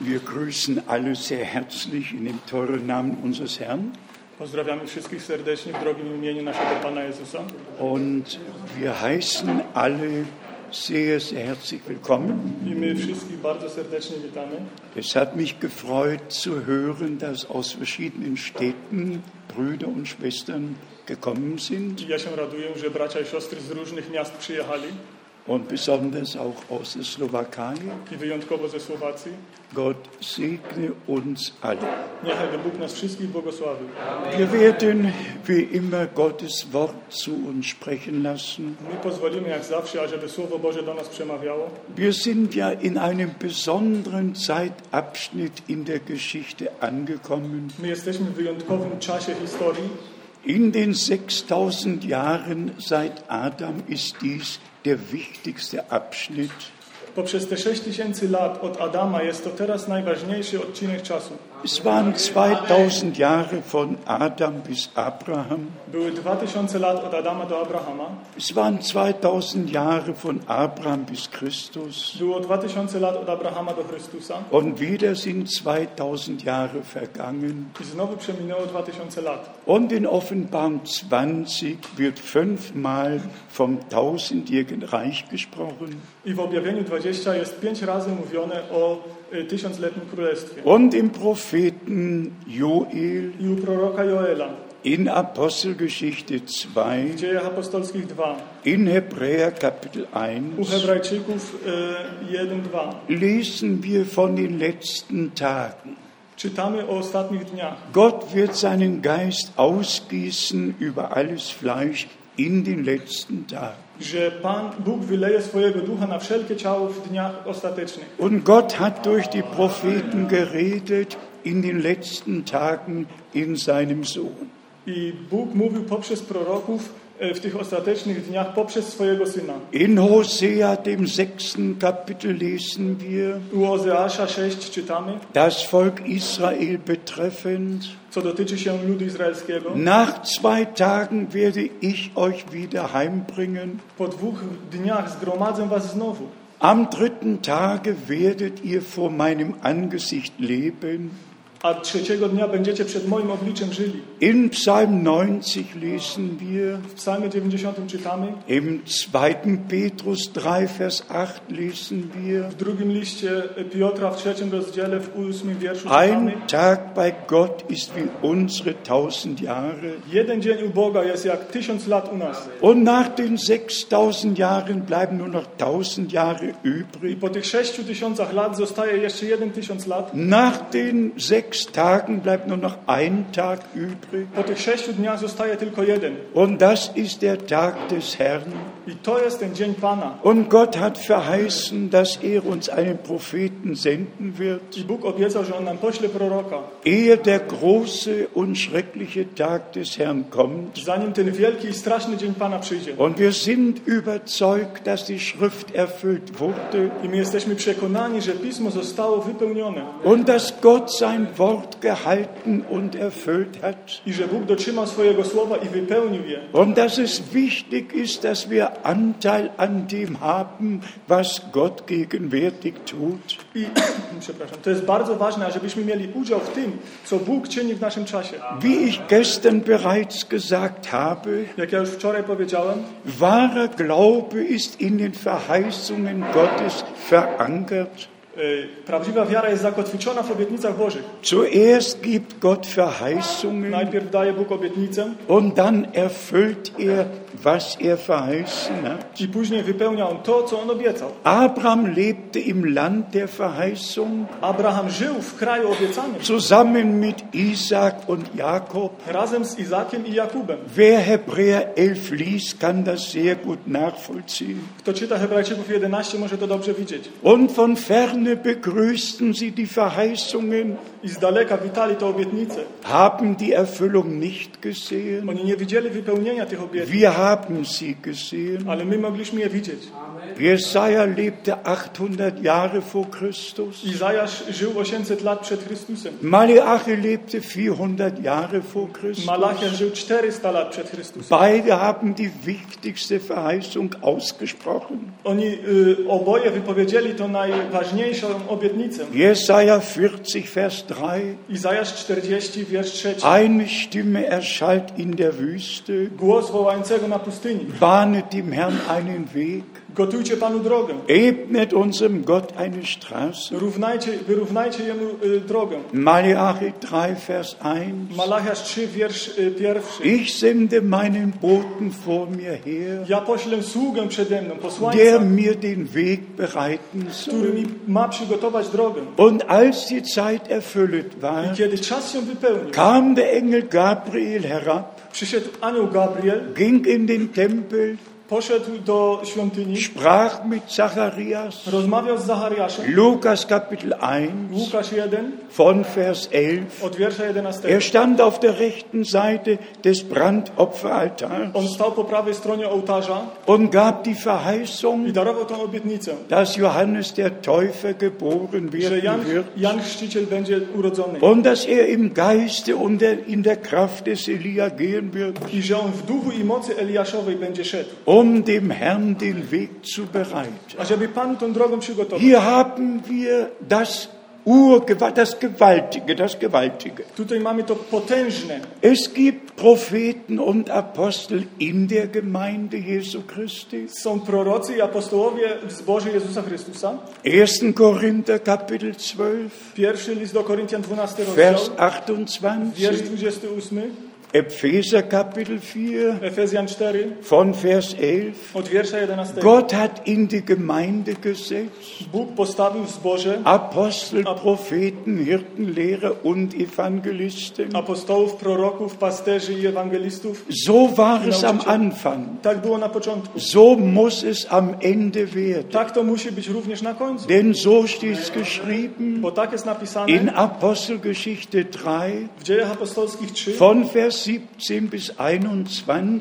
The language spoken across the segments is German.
Wir grüßen alle sehr herzlich in dem teuren Namen unseres Herrn Pozdrawiamy wszystkich serdecznie w drogim imieniu naszego Pana Jezusa und wir heißen alle sehr, sehr herzlich willkommen. i my wszystkich bardzo serdecznie witamy. Es hat mich gefreut zu hören, dass aus verschiedenen Städten Brüder und Schwestern gekommen sind Ja się raduję, że bracia i siostry z różnych miast przyjechali und besonders auch aus der Slowakei. i wyjątkowo ze Słowacji. Gott segne uns alle. Niechaj Bóg nas wszystkich błogosławi. Wir werden wie immer Gottes Wort zu uns sprechen lassen. My pozwolimy jak zawsze, ażeby Słowo Boże do nas przemawiało. Wir sind ja in einem besonderen Zeitabschnitt in der Geschichte angekommen. My jesteśmy w wyjątkowym czasie historii. In den 6000 Jahren seit Adam ist dies der wichtigste Abschnitt. Poprzez te 6 tysięcy lat od Adama jest to teraz najważniejszy odcinek czasu. Es waren 2000 Jahre von Adam bis Abraham. Były 2000 lat od Adama do Abrahama. Es waren 2000 Jahre von Abraham bis Christus. Było 2000 lat od Abrahama do Chrystusa. Und wieder sind 2000 Jahre vergangen. I znowu przeminęło 2000 lat. Und in Offenbarung 20 wird fünfmal vom tausendjährigen Reich gesprochen. I w objawieniu 20 jest pięć razy mówione o y, tysiącletnim królestwie. Und im Propheten Joel I u proroka Joela, in Apostelgeschichte 2, w dziejach apostolskich 2, in Hebräer Kapitel u 1 Hebrajczyków y, 1-2 lesen wir von den letzten Tagen. czytamy o ostatnich dniach. Gott wird seinen Geist ausgießen über alles Fleisch in den letzten Tagen. że Pan Bóg wyleje swojego ducha na wszelkie ciało w dniach ostatecznych. Und Gott hat durch die Propheten geredet in den letzten Tagen in seinem Sohn. I Bóg mówił poprzez proroków e, w tych ostatecznych dniach, poprzez swojego Syna. In Hosea, dem sechsten Kapitel, lesen wir, U Ozeasza 6 czytamy, das Volk Israel betreffend, co dotyczy się ludu izraelskiego. nach zwei Tagen werde ich euch wieder heimbringen, Po dwóch dniach zgromadzę was znowu. am dritten Tage werdet ihr vor meinem Angesicht leben. A trzeciego dnia będziecie przed moim obliczem żyli. In Psalm 90 lesen wir, W Psalmie 90 czytamy, Im 2. Petrus 3, Vers 8 lesen wir, w drugim liście Piotra, w trzecim rozdziale, w ósmym wierszu czytamy, ein Tag bei Gott ist wie unsere tausend Jahre. jeden dzień u Boga jest jak tysiąc lat u nas. Und nach den 6000 Jahren bleiben nur noch 1000 Jahre I übrig. po tych sześciu tysiącach lat zostaje jeszcze jeden tysiąc lat. Nach den sechs Tagen bleibt nur noch ein Tag übrig. Po tych sześciu dniach zostaje tylko jeden. Und das ist der Tag des Herrn. I to jest ten dzień Pana. Und Gott hat verheißen, dass er uns einen Propheten senden I wird, Bóg obiecał, że On nam pośle proroka, ehe der große und schreckliche Tag des Herrn kommt. zanim ten wielki i straszny dzień Pana przyjdzie. Und wir sind überzeugt, dass die Schrift erfüllt wurde I my jesteśmy przekonani, że Pismo zostało wypełnione und dass Gott sein Wort gehalten und erfüllt hat. i że Bóg dotrzymał swojego słowa i wypełnił je. Und dass es wichtig ist, dass wir Anteil an dem haben, was Gott gegenwärtig tut. I przepraszam, to jest bardzo ważne, ażebyśmy mieli udział w tym, co Bóg czyni w naszym czasie. Wie ich gestern bereits gesagt habe, Jak ja już wczoraj powiedziałem, wahrer Glaube ist in den Verheißungen Gottes verankert. y, prawdziwa wiara jest zakotwiczona w obietnicach Bożych. Zuerst gibt Gott Verheißungen Najpierw daje Bóg obietnicę Und dann erfüllt er, was er verheißen hat. i później wypełnia on to, co on obiecał. Abraham lebte im Land der Verheißung Abraham żył w kraju obiecanym zusammen mit Isaak und Jakob. razem z Izakiem i Jakubem. Wer Hebräer 11 liest, kann das sehr gut nachvollziehen. Kto czyta Hebrajczyków 11 może to dobrze widzieć. Und von ferne begrüßten sie die Verheißungen, I z daleka witali te obietnice. haben die Erfüllung nicht gesehen. Oni nie widzieli wypełnienia tych obietnic. Wir haben sie gesehen. ale my mogliśmy je widzieć. Jesaja lebte 800 Jahre vor Christus. Izajasz żył 800 lat przed Chrystusem. Malachi lebte 400 Jahre vor Malachiasz Christus. żył 400 lat przed Chrystusem. Beide haben die wichtigste Verheißung ausgesprochen. Oni y, oboje wypowiedzieli tą najważniejszą obietnicę. Jesaja 40, Vers 3. Izajasz 40, wiersz 3. Eine Stimme erschallt in der Wüste. Głos wołającego na pustyni. Bahnet dem Herrn einen Weg. Gotujcie Panu drogę. Ebnet unserem Gott eine Straße. Równajcie, wyrównajcie Jemu y, drogę. Malachi 3, Vers 1. Malachiasz 3, wiersz y, pierwszy. Ich sende meinen Boten vor mir her, Ja poślę sługę przede mną, der posłańca, mir den Weg bereiten który soll. mi ma przygotować drogę. Und als die Zeit erfüllt I war, kiedy czas się wypełnił, kam der Engel Gabriel herab, przyszedł anioł Gabriel, ging in den Tempel, poszedł do świątyni, sprach mit Zacharias. rozmawiał z Zachariaszem, Lukas Kapitel 1 Łukasz 1, von Vers 11. od wiersza 11. Er stand auf der rechten Seite des Brandopferaltars On stał po prawej stronie ołtarza und gab die i Verheißung, darował tą obietnicę, dass Johannes der Täufer geboren że Jan, werden wird. Jan Chrzciciel będzie urodzony Und dass er im Geiste und der, in der Kraft des Elia gehen wird, i że on w duchu i mocy Eliaszowej będzie szedł, um dem Herrn den Weg zu bereiten. ażeby Panu tą drogę przygotował. Hier haben wir das Urgewalt, das Gewaltige, das Gewaltige. Tutaj mamy to potężne. Es gibt Propheten und Apostel in der Gemeinde Jesu Christi. Są prorocy i apostołowie w zborze Jezusa Chrystusa. 1. Korinther Kapitel 12, Pierwszy list do Koryntian, 12 Vers rozdział, wiersz 28, 28, Epheser Kapitel 4 Efezjan 4, von Vers 11. od wiersza 11. Gott hat in die Gemeinde gesetzt. Bóg postawił w zborze Apostel, Propheten, Hirten, Lehrer und Evangelisten. apostołów, proroków, pasterzy i ewangelistów. So war es am Anfang. Tak było na początku. So muss es am Ende werden. Tak to musi być również na końcu, Denn so steht es geschrieben bo tak jest in napisane Apostelgeschichte 3 w dziejach apostolskich 3, von Vers 17 bis 21,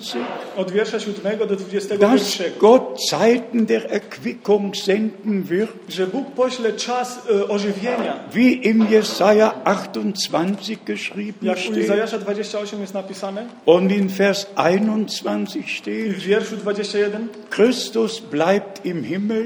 od wiersza 7 do 21, dass Gott Zeiten der Erquickung senden wird, że Bóg pośle czas e, ożywienia, wie im Jesaja 28 geschrieben jak u steht Izajasza 28 jest napisane und in Vers 21 i steht. w wierszu 21 Christus bleibt im Himmel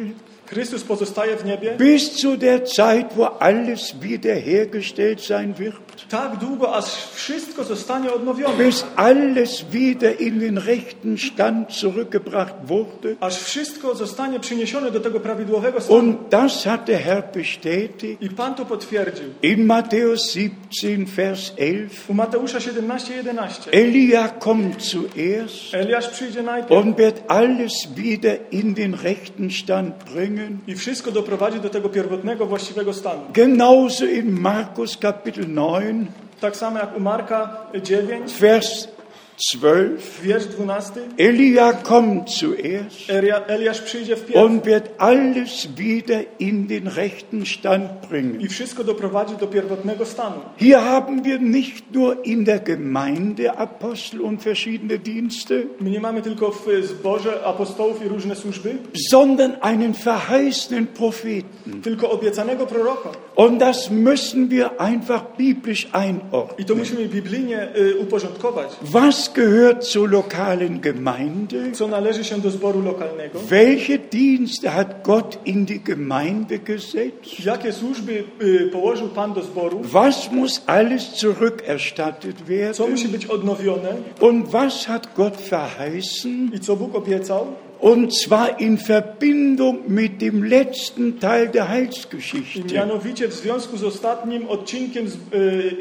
Chrystus pozostaje w niebie bis zu der Zeit, wo alles wiederhergestellt sein wird, tak długo, aż wszystko zostanie odnowione, bis alles wieder in den rechten Stand zurückgebracht wurde. aż wszystko zostanie przyniesione do tego prawidłowego stanu. Und das hat der Herr bestätigt I Pan to potwierdził. in Matthäus 17, Vers 11. U Mateusza 17, 11. Elia kommt zuerst Eliasz przyjdzie najpierw und wird alles wieder in den rechten Stand bringen. i wszystko doprowadzi do tego pierwotnego, właściwego stanu. Genauso in Markus Kapitel 9, Tak samo jak u Marka 9, Vers 12. wiersz 12. Elia kommt zuerst Elia- Eliasz przyjdzie w pierwszy und wird alles wieder in den rechten Stand bringen. i wszystko doprowadzi do pierwotnego stanu. Hier haben wir nicht nur in der Gemeinde Apostel und verschiedene Dienste, My nie mamy tylko w zborze apostołów i różne służby, sondern einen verheißenen Propheten. tylko obiecanego proroka. Und das müssen wir einfach biblisch I to einordnen. musimy biblijnie y, uporządkować. Was gehört zur lokalen Gemeinde? Co należy się do zboru lokalnego? Welche Dienste hat Gott in die Gemeinde gesetzt? Jakie służby y, położył Pan do zboru? Was muss alles zurückerstattet werden? Co musi być odnowione Und was hat Gott verheißen? i co Bóg obiecał? Und zwar in Verbindung mit dem letzten Teil der I Heilsgeschichte. mianowicie w związku z ostatnim odcinkiem z,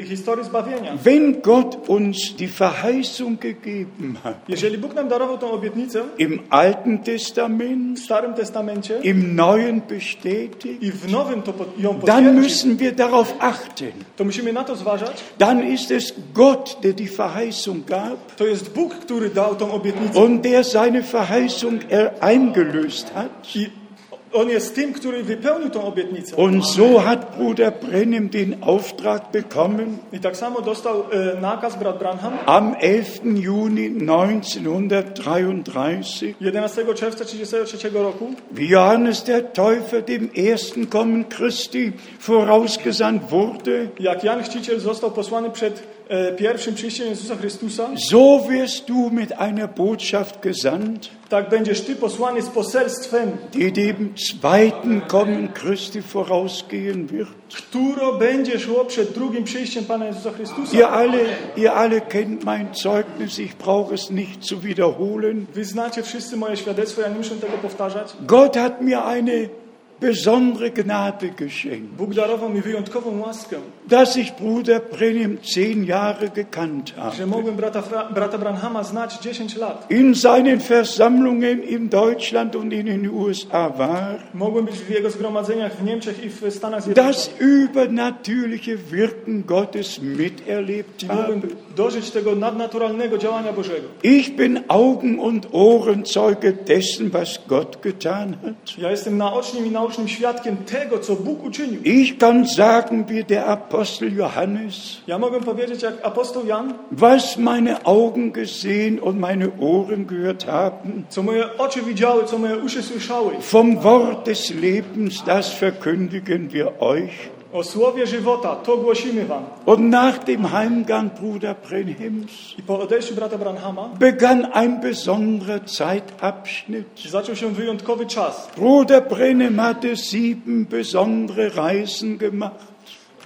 y, historii zbawienia. Wenn Gott uns die Verheißung gegeben hat, Jeżeli Bóg nam darował tą obietnicę im Alten w Testament, Starym Testamencie im Neuen bestätigt, i w Nowym to pod, ją dann potwierdzi, müssen wir darauf achten. to musimy na to zważać. Dann ist es Gott, der die Verheißung gab To jest Bóg, który dał tą obietnicę und der seine Verheißung er- eingelöst hat. i On jest tym, który wypełnił tą obietnicę. Und so hat Bruder Brennim den Auftrag bekommen, I tak samo dostał e, nakaz brat Branham am 11. Juni 1933, 11 czerwca 1933 roku, wie Johannes der Täufer dem ersten Kommen Christi vorausgesandt wurde, jak Jan Chrzciciel został posłany przed e, pierwszym przyjściem Jezusa Chrystusa, so wirst du mit einer Botschaft gesandt, tak będziesz ty posłany z poselstwem, die dem zweiten Kommen Christi vorausgehen wird. które będzie szło przed drugim przyjściem Pana Jezusa Chrystusa. Ihr alle, ihr alle kennt mein Zeugnis, ich brauche es nicht zu wiederholen. Wy znacie wszyscy moje świadectwo, ja nie muszę tego powtarzać. Gott hat mir eine besondere Gnade geschenkt, Bóg darował mi wyjątkową łaskę, dass ich Bruder Brenim zehn Jahre gekannt że habe. mogłem brata, Fra- brata Branhama znać 10 lat. In seinen Versammlungen in Deutschland und in den USA war, Mogłem być w jego zgromadzeniach w Niemczech i w Stanach das Zjednoczonych. übernatürliche Wirken Gottes miterlebt I habe. mogłem dożyć tego nadnaturalnego działania Bożego. Ich bin Augen- und Ohrenzeuge dessen, was Gott getan hat. Ja jestem naocznym i naocznym świadkiem tego, co Bóg uczynił. Ich kann sagen, wie der Apostel Johannes, Ja mogę powiedzieć, jak apostoł Jan, was meine Augen gesehen und meine Ohren gehört haben, co moje oczy widziały, co moje uszy słyszały. vom Wort des Lebens, das verkündigen wir euch. O słowie żywota, to głosimy wam. Und nach dem Heimgang Bruder Brenhims I po odejściu brata Branhama begann ein besonderer Zeitabschnitt. zaczął się wyjątkowy czas. Bruder Brenhim hatte sieben besondere Reisen gemacht.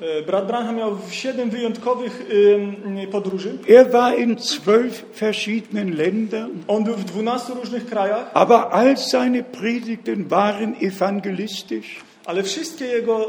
E, Brat Branham miał siedem wyjątkowych ym, podróży. Er war in zwölf verschiedenen Ländern, On był w 12 różnych krajach, aber all seine Predigten waren evangelistisch. ale wszystkie jego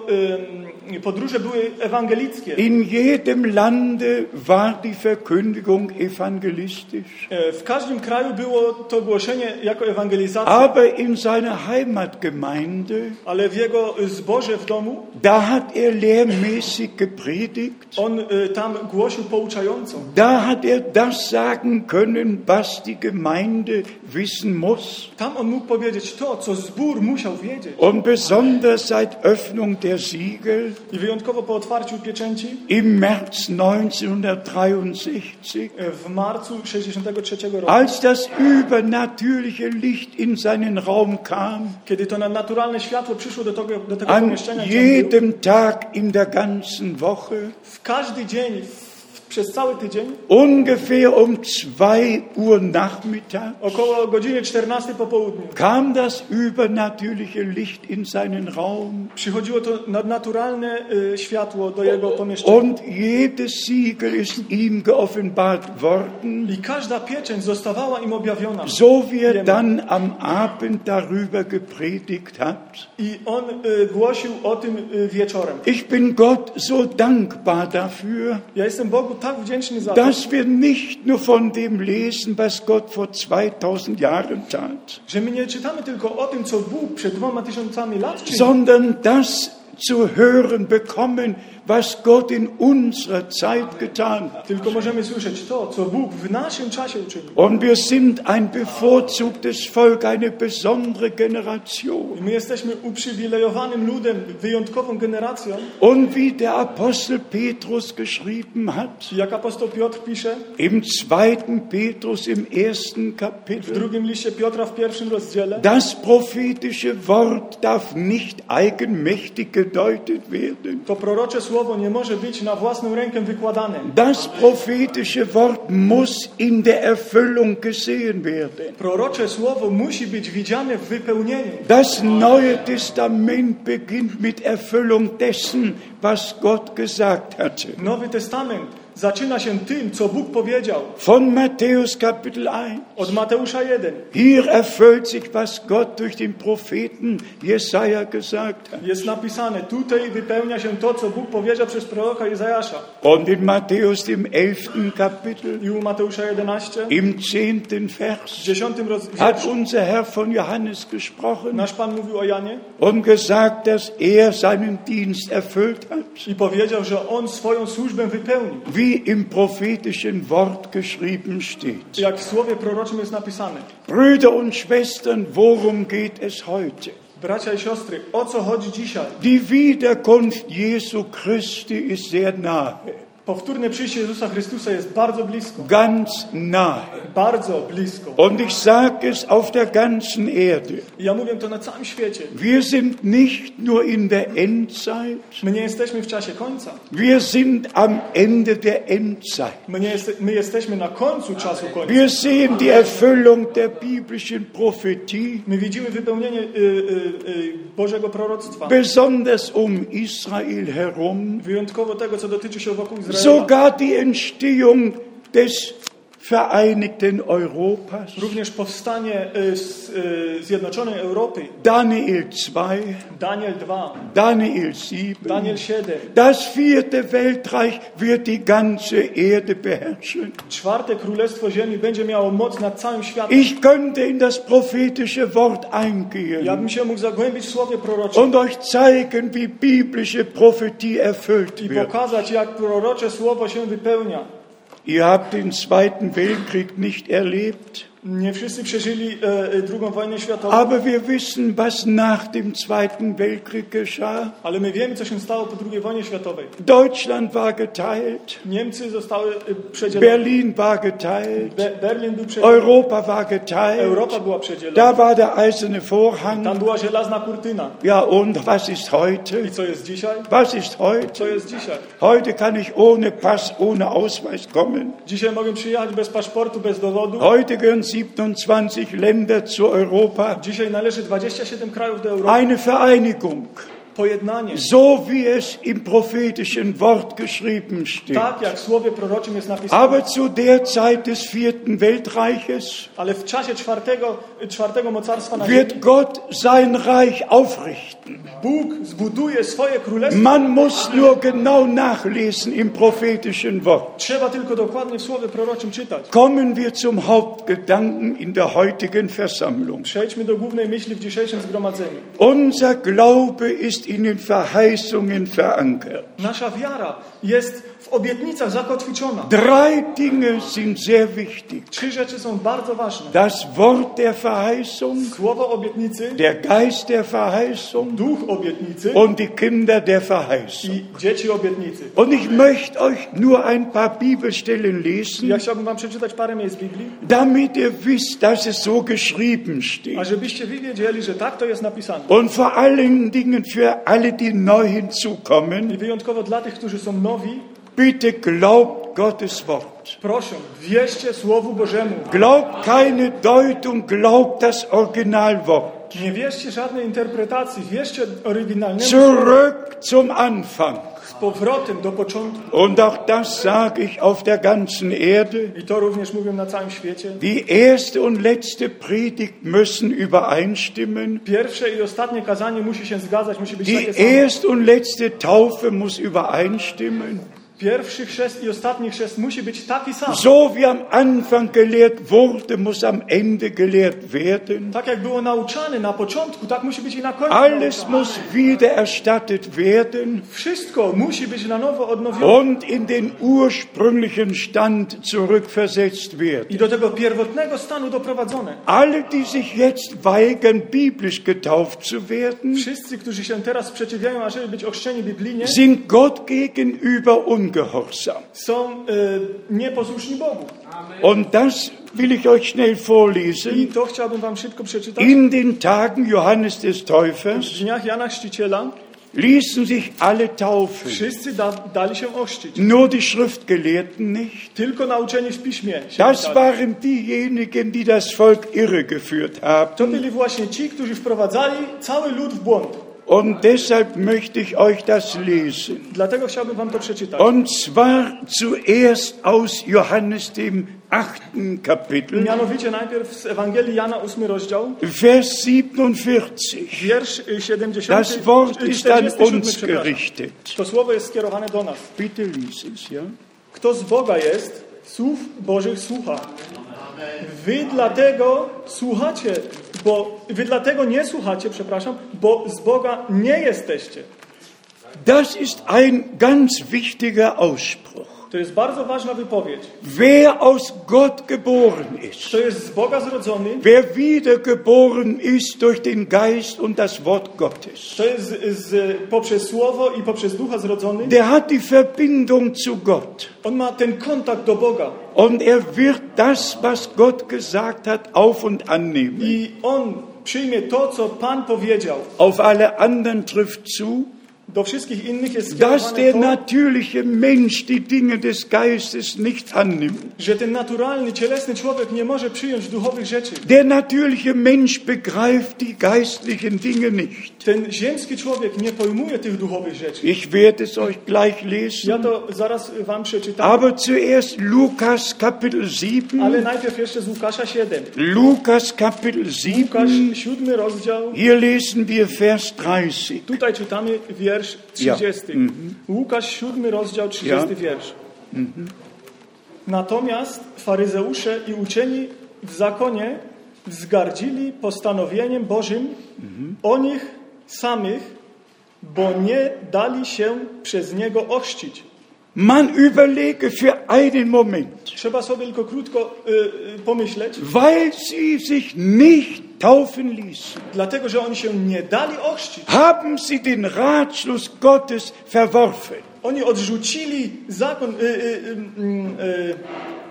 ym, podróże były ewangelickie. In jedem Lande war die Verkündigung evangelistisch, E, W każdym kraju było to głoszenie jako ewangelizacja, aber in seiner Heimatgemeinde, ale w jego y, zborze w domu da hat er lehrmäßig gepredigt, on y, tam głosił pouczająco. da hat er das sagen können, was die Gemeinde wissen muss. Tam on mógł powiedzieć to, co zbór musiał wiedzieć. Und besonders seit Öffnung der Siegel I wyjątkowo po otwarciu pieczęci im März 1963, e, w marcu 63 roku, als das übernatürliche Licht in seinen Raum kam, kiedy to naturalne światło przyszło do tego, do tego An pomieszczenia, gdzie on był, jedem Tag in der ganzen Woche, w każdy dzień, w, przez cały tydzień, ungefähr um 2 Uhr Nachmittag, około godziny 14 po południu, kam das übernatürliche Licht in seinen Raum przychodziło to nadnaturalne y, światło do jego pomieszczenia. und jedes Siegel ist ihm geoffenbart worden, I każda pieczęć zostawała im objawiona. so wie er dann am Abend darüber gepredigt hat. I on y, głosił o tym y, wieczorem. Ich bin Gott so dankbar dafür, Ja jestem Bogu tak wdzięczny za to, dass wir nicht nur von dem lesen, was Gott vor 2000 Jahren tat. że my nie czytamy tylko o tym, co Bóg przed dwoma tysiącami lat czynił, sondern das zu hören bekommen, was Gott in unserer Zeit getan hat. tylko możemy słyszeć to, co Bóg w naszym czasie uczynił. Und wir sind ein bevorzugtes Volk, eine besondere Generation. I my jesteśmy uprzywilejowanym ludem, wyjątkową generacją. Und wie der Apostel Petrus geschrieben hat, Jak apostoł Piotr pisze im zweiten Petrus im ersten w Kapitel, drugim liście Piotra w pierwszym rozdziale, das prophetische Wort darf nicht eigenmächtig gedeutet werden. to prorocze słowo nie może być na własną rękę wykładane. Das prophetische Wort muss in der Erfüllung gesehen werden. Prorocze słowo musi być widziane w wypełnieniu. Das Neue Testament beginnt mit Erfüllung dessen, was Gott gesagt hatte. Nowy Testament zaczyna się tym, co Bóg powiedział. Von Matthäus Kapitel 1. Od Mateusza 1. Hier erfüllt sich, was Gott durch den Propheten Jesaja gesagt hat. Jest napisane, tutaj wypełnia się to, co Bóg powiedział przez proroka Izajasza. Und in Matthäus dem 11. Kapitel, I u Mateusza 11, im 10. w Vers, 10 hat rozdziale, unser Herr von Johannes gesprochen nasz Pan mówił o Janie und gesagt, dass er seinen Dienst erfüllt hat, i powiedział, że on swoją służbę wypełnił. wie im prophetischen Wort geschrieben steht. Jak w słowie proroczym jest napisane. Brüder und Schwestern, worum geht es heute? Bracia i siostry, o co chodzi dzisiaj? Die Wiederkunft Jesu Christi ist sehr nahe, Powtórne przyjście Jezusa Chrystusa jest bardzo blisko. ganz nahe. Bardzo blisko. Und ich sage es auf der ganzen Erde. I Ja mówię to na całym świecie. Wir sind nicht nur in der Endzeit, My nie jesteśmy w czasie końca. wir sind am Ende der Endzeit. My, nie jeste, my jesteśmy na końcu czasu końca. Wir sehen die Erfüllung der biblischen Prophetie, My widzimy wypełnienie y, y, y, Bożego proroctwa. besonders um Israel herum, Wyjątkowo tego, co dotyczy się wokół Izraela. sogar die Entstehung des vereinigten Europas. Również powstanie y, z, y, Zjednoczonej Europy. Daniel 2, Daniel 2, Daniel 7. Daniel 7. Das vierte Weltreich wird die ganze Erde beherrschen. Czwarte Królestwo Ziemi będzie miało moc nad całym światem. Ich könnte in das prophetische Wort Ja eingehen bym się mógł zagłębić w słowie proroczym und euch zeigen, wie biblische Prophetie erfüllt i wird. pokazać, jak prorocze słowo się wypełnia. Ihr habt den Zweiten Weltkrieg nicht erlebt, Nie wszyscy przeżyli e, e, drugą wojnę światową, aber wir wissen, was nach dem Zweiten Weltkrieg geschah. ale my wiemy, co się stało po II wojnie światowej. Deutschland war geteilt, Niemcy zostały e, przedzielone. Berlin war geteilt, Be Berlin był przedzielony. Europa war geteilt. Europa była przedzielona. Da war der eiserne Tam Vorhang. była żelazna kurtyna. Ja, und was ist I heute? co jest dzisiaj? Was ist heute? Co jest dzisiaj? Heute kann ich ohne Pass, ohne Ausweis kommen. Dzisiaj mogę przyjechać bez paszportu, bez dowodu. Heute gehören 27 Länder zu Europa. Dzisiaj należy 27 krajów do Europy. Eine Vereinigung, Pojednanie. so wie es im prophetischen Wort geschrieben steht. Tak jak w słowie proroczym jest napisane. Aber zu der Zeit des vierten Weltreiches Ale w czasie czwartego, czwartego mocarstwa na ziemi wird Gott sein Reich aufrichten. Bóg zbuduje swoje królestwo. Man muss nur genau nachlesen im prophetischen Wort. Trzeba tylko dokładnie w słowie proroczym czytać. Kommen wir zum Hauptgedanken in der heutigen Versammlung. Przejdźmy do głównej myśli w dzisiejszym zgromadzeniu. Unser Glaube ist in den Verheißungen verankert. Nasza wiara jest w obietnicach zakotwiczona. Drei Dinge sind sehr wichtig. Trzy rzeczy są bardzo ważne. Das Wort der Verheißung, Słowo obietnicy, der Geist der Verheißung duch obietnicy und die Kinder der Verheißung. i dzieci obietnicy. Und ich möchte euch nur ein paar Bibelstellen Ja lesen, chciałbym wam przeczytać parę miejsc Biblii, damit ihr wisst, dass es so geschrieben a steht. żebyście wy wiedzieli, że tak to jest napisane. Und vor allen Dingen für alle, die neu I hinzukommen, wyjątkowo dla tych, którzy są nowi, bitte glaubt Gottes Wort. proszę, wierzcie Słowu Bożemu. Glaubt keine Deutung, glaubt das Originalwort. Nie wierzcie żadnej interpretacji, wierzcie oryginalnemu słowu. Zurück zum Anfang. z powrotem do początku. Und auch das sage ich auf der ganzen Erde. I to również mówię na całym świecie. Die erste und letzte Predigt müssen übereinstimmen. Pierwsze i ostatnie kazanie musi się zgadzać, musi być Die takie samo. erste und letzte Taufe muss übereinstimmen. Pierwszy chrzest i ostatni chrzest musi być taki sam. So wie am Anfang gelehrt wurde, muss am Ende gelehrt werden. Tak jak było nauczane na początku, tak musi być i na końcu. Alles nauczane. muss wieder erstattet werden. Wszystko musi być na nowo odnowione und in den ursprünglichen Stand zurückversetzt wird. i do tego pierwotnego stanu doprowadzone. Alle, die sich jetzt weigern, biblisch getauft zu werden, Wszyscy, którzy się teraz sprzeciwiają, ażeby być ochrzczeni biblijnie, sind Gott gegenüber ungehorsam. są e, nieposłuszni Bogu. Und das will ich euch schnell I vorlesen. to chciałbym wam szybko przeczytać. In den Tagen Johannes des W Täufers dniach Jana Chrzciciela ließen sich alle taufen, wszyscy da, dali się ochrzcić. nur die Schriftgelehrten nicht. Tylko nauczeni w Piśmie. się Das dali. waren diejenigen, die das Volk irregeführt To haben. byli właśnie ci, którzy wprowadzali cały lud w błąd. Und deshalb möchte ich euch das lesen. Dlatego chciałbym wam to przeczytać. Und zwar zuerst aus Johannes dem achten Kapitel, Mianowicie najpierw z Ewangelii Jana 8 rozdział, Vers 47. wiersz y, 70. Das Wort y, ist an 47, uns przepraszam. gerichtet. To słowo jest skierowane do nas. Bitte lies es, ja? Kto z Boga jest, słów Bożych słucha. Wy dlatego słuchacie, bo wy dlatego nie słuchacie, przepraszam, bo z Boga nie jesteście. Das ist ein ganz wichtiger Ausspruch. To To jest bardzo ważna wypowiedź. Wer aus Gott geboren Kto ist, jest z Boga zrodzony, wer wiedergeboren ist durch den Geist und das Wort Gottes, kto jest z, z, poprzez Słowo i poprzez Ducha zrodzony, der hat die Verbindung zu Gott. on ma ten kontakt do Boga. Und er wird das, was Gott gesagt hat, auf und annehmen. I on przyjmie to, co Pan powiedział. Auf alle anderen trifft zu, Do wszystkich innych jest dass skierowane der to, natürliche Mensch die Dinge des Geistes nicht annimmt. że ten naturalny, cielesny człowiek nie może przyjąć duchowych rzeczy. Der natürliche Mensch begreift die geistlichen Dinge nicht. Ten ziemski człowiek nie pojmuje tych duchowych rzeczy. Ich werde es euch gleich Ja lesen. to zaraz wam przeczytam, Aber zuerst Lukas Kapitel ale 7. najpierw jeszcze z Łukasza 7. Lukas Kapitel Łukasz 7. 7 rozdział. Hier lesen wir Vers 30. Tutaj czytamy wiersz 30. Ja. Mhm. Łukasz 7 rozdział 30 Ja. Mhm. wiersz. Natomiast faryzeusze i uczeni w zakonie wzgardzili postanowieniem Bożym Mhm. o nich samych, bo nie dali się przez niego ochrzcić. Man überlege für einen Moment, Trzeba sobie tylko krótko y, y, pomyśleć, weil sie sich nicht taufen ließen, dlatego że oni się nie dali ochrzcić. haben sie den Ratschluss Gottes verworfen. Oni odrzucili zakon, y, y, y,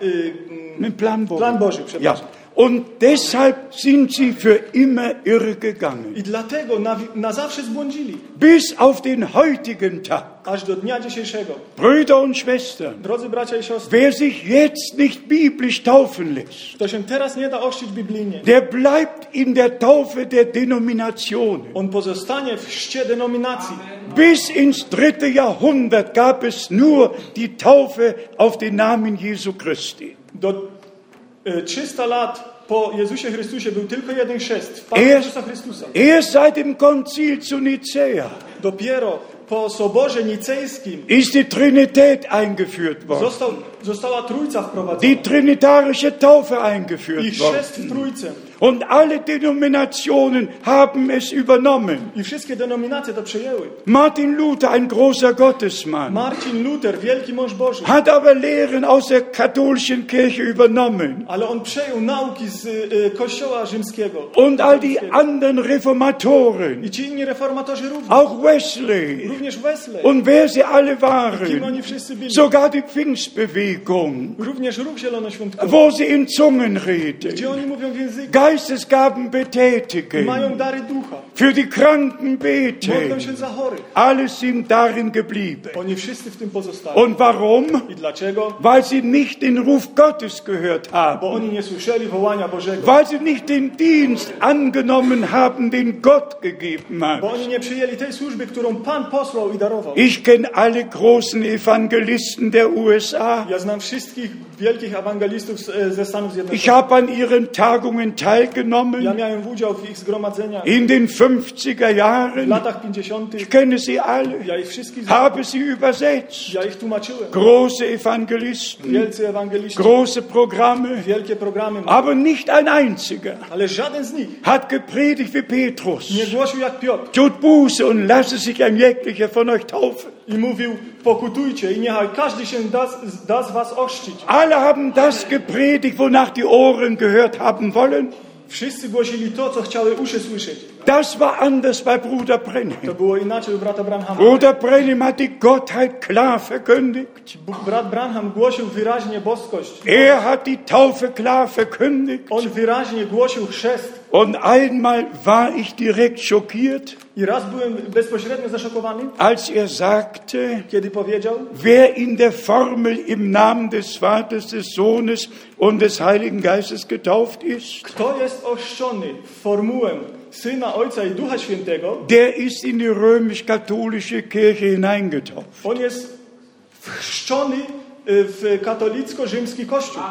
y, y, y, Mit Plan Bogen. Plan Boży, przepraszam. Ja. Und deshalb sind sie für immer irre gegangen. I dlatego na, na zawsze zbłądzili, Bis auf den heutigen Tag. aż do dnia dzisiejszego. Brüder und Schwestern, Drodzy bracia i siostry, Wer sich jetzt nicht biblisch taufen lässt, kto się teraz nie da ochrzcić biblijnie, der bleibt in der Taufe der Denominationen. on pozostanie w chrzcie denominacji. Bis ins dritte Jahrhundert gab es nur die Taufe auf den Namen Jesu Christi. Do y, 300 lat po Jezusie Chrystusie był tylko jeden chrzest, w Pana Erst, Jezusa Chrystusa. erst seit dem Konzil zu Nicäa Dopiero po Soborze Nicejskim ist die Trinität eingeführt worden. został, została Trójca wprowadzona Die trinitarische Taufe i eingeführt worden. chrzest w Trójce. Und alle Denominationen haben es übernommen. I wszystkie denominacje to przejęły. Martin Luther, ein großer Gottesmann, Marcin Luther, wielki mąż Boży, hat aber Lehren aus der katholischen Kirche übernommen. ale on przejął nauki z y, Kościoła Rzymskiego. Und all die anderen Reformatoren, I ci inni reformatorzy również. auch Wesley Również Wesley. und wer sie alle Kim oni waren, wszyscy byli. sogar die Pfingstbewegung, Również ruch zielonoświątkowy. wo sie in Zungen Gdzie reden, oni mówią w języku. Geistesgaben Mają betätigen, dary ducha. für die Kranken Modlą się beten, za chorych. alles sind darin geblieben. Oni wszyscy w tym pozostali. Und warum? I dlaczego? Weil sie nicht den Ruf Gottes gehört haben. Bo oni nie słyszeli wołania Bożego. weil sie nicht den Dienst angenommen haben, den Gott gegeben Bo hat. oni nie przyjęli tej służby, którą Pan posłał i darował. Ich kenne alle großen Evangelisten der USA. Ja znam wszystkich wielkich ewangelistów z, e, ze Stanów Ich Zjednoczonych. habe an ihren Tagungen Ja teilgenommen miałem udział w ich zgromadzeniach in den 50er w Jahren. latach 50. Ich kenne sie alle, Ja ich wszystkich znam. habe sie übersetzt. Ja ich tłumaczyłem. Große Evangelisten, Wielcy ewangeliści. große Programme, Wielkie programy. aber nicht ein einziger Ale żaden z nich hat gepredigt wie nie Petrus. głosił jak Piotr. Tut Buße und lasse sich ein jeglicher von euch taufen. I mówił, pokutujcie i niechaj każdy się da, z- da z was ochrzcić. Alle haben das gepredigt, wonach die Ohren gehört haben wollen. Wszyscy głosili to, co chciały uszy słyszeć. Das war anders bei Bruder To Brenham. było inaczej u brata Branhama. Bruder Brenham hat die Gottheit klar verkündigt. B- Brat Branham głosił wyraźnie boskość. Er hat die Taufe klar verkündigt. On wyraźnie głosił chrzest. Und einmal war ich direkt schockiert, I raz byłem bezpośrednio zaszokowany, als er sagte, kiedy powiedział, wer in der Formel im Namen des Vaters, des Sohnes und des Heiligen Geistes getauft ist, kto jest ochrzczony w formułę Syna, Ojca i Ducha Świętego, der ist in die römisch-katholische Kirche hineingetauft. on jest chrzczony y, w katolicko-rzymski kościół.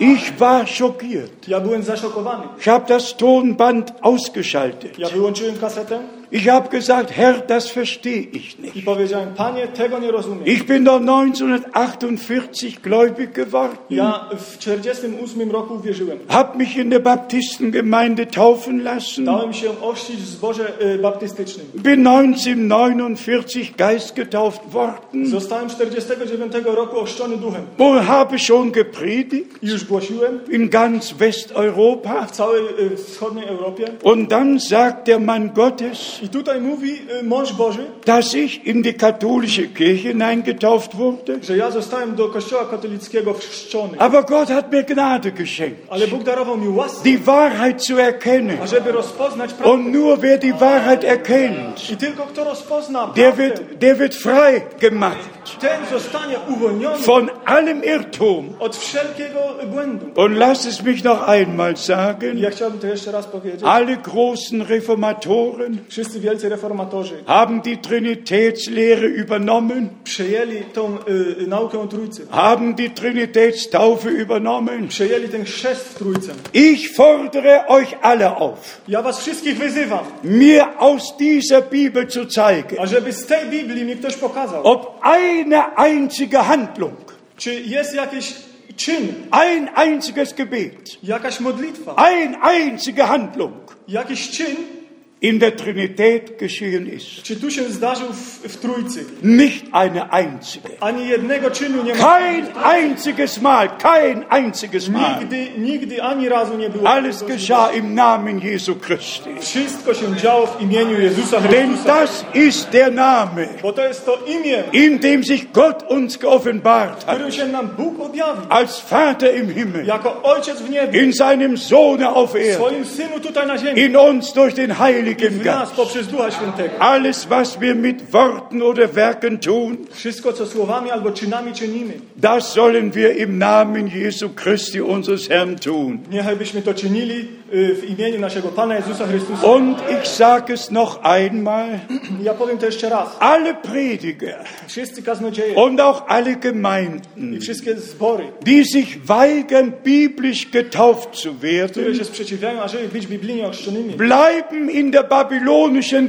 Ich war schockiert. Ja byłem zaszokowany. Ich habe das Tonband ausgeschaltet. Ja wyłączyłem kasetę Ich habe gesagt, Herr, das verstehe ich I nicht. powiedziałem, panie, tego nie rozumiem. Ich bin doch 1948 gläubig geworden, Ja w 48 roku uwierzyłem. habe mich in der Baptistengemeinde taufen lassen, Dałem się ochrzcić w zborze y, baptystycznym. bin 1949 geistgetauft worden Zostałem 49 roku ochrzczony duchem. und habe schon gepredigt Już głosiłem in ganz Westeuropa. w całej y, wschodniej Europie. Und dann sagt der Mann Gottes, I tutaj mówi y, mąż Boży, dass ich in die katholische Kirche hineingetauft wurde. że ja zostałem do kościoła katolickiego chrzczony. Aber Gott hat mir Gnade geschenkt, Ale Bóg darował mi łaskę, die Wahrheit zu erkennen. ażeby rozpoznać prawdę. Und nur wer die Wahrheit erkennt, I tylko kto rozpozna der prawdę, wird, der wird frei gemacht ten zostanie uwolniony von allem Irrtum. od wszelkiego błędu. Und lasst es mich noch einmal I ja sagen, chciałbym to jeszcze raz powiedzieć. alle großen Reformatoren Wszyscy wielcy reformatorzy haben die Trinitätslehre übernommen, przejęli tą y, y, naukę Trójcy. haben die Trinitätstaufe übernommen. Przejęli ten chrzest w Trójce. Ich fordere euch alle auf, Ja was wszystkich wyzywam, mir aus dieser Bibel zu zeigen, ażeby z tej Biblii mi ktoś pokazał, ob eine einzige Handlung, czy jest jakiś czyn, ein einziges Gebet, jakaś modlitwa, eine einzige Handlung jakiś czyn, in der Trinität geschehen ist. czy tu się zdarzył w, w Trójcy. Nicht eine einzige. Ani jednego czynu nie ma. Kein einziges Mal, kein einziges Mal. Nigdy, nigdy ani razu nie było. Alles geschah im Namen Jesu Christi. Wszystko się działo w imieniu Jezusa Denn Chrystusa. das ist der Name, Bo to jest to imię, in dem sich Gott uns geoffenbart w hat, którym się nam Bóg objawił. als Vater im Himmel. Jako Ojciec w niebie, in seinem Sohne auf w Erden, swoim Synu tutaj na ziemi. in uns durch den Heiligen W nas Geist. poprzez Ducha Świętego. Alles, was wir mit Worten oder Werken tun, Wszystko, co słowami albo czynami czynimy, das sollen wir im Namen Jesu Christi unseres Herrn tun. niechaj byśmy to czynili y, w imieniu naszego Pana Jezusa Chrystusa. Und ich sage es noch einmal, Ja powiem to jeszcze raz. alle Prediger Wszyscy kaznodzieje und auch alle i Gemeinden, wszystkie zbory, die sich weigern, biblisch getauft zu które werden, się sprzeciwiają, ażeby być biblijnie ochrzczonymi, bleiben in der babylonischen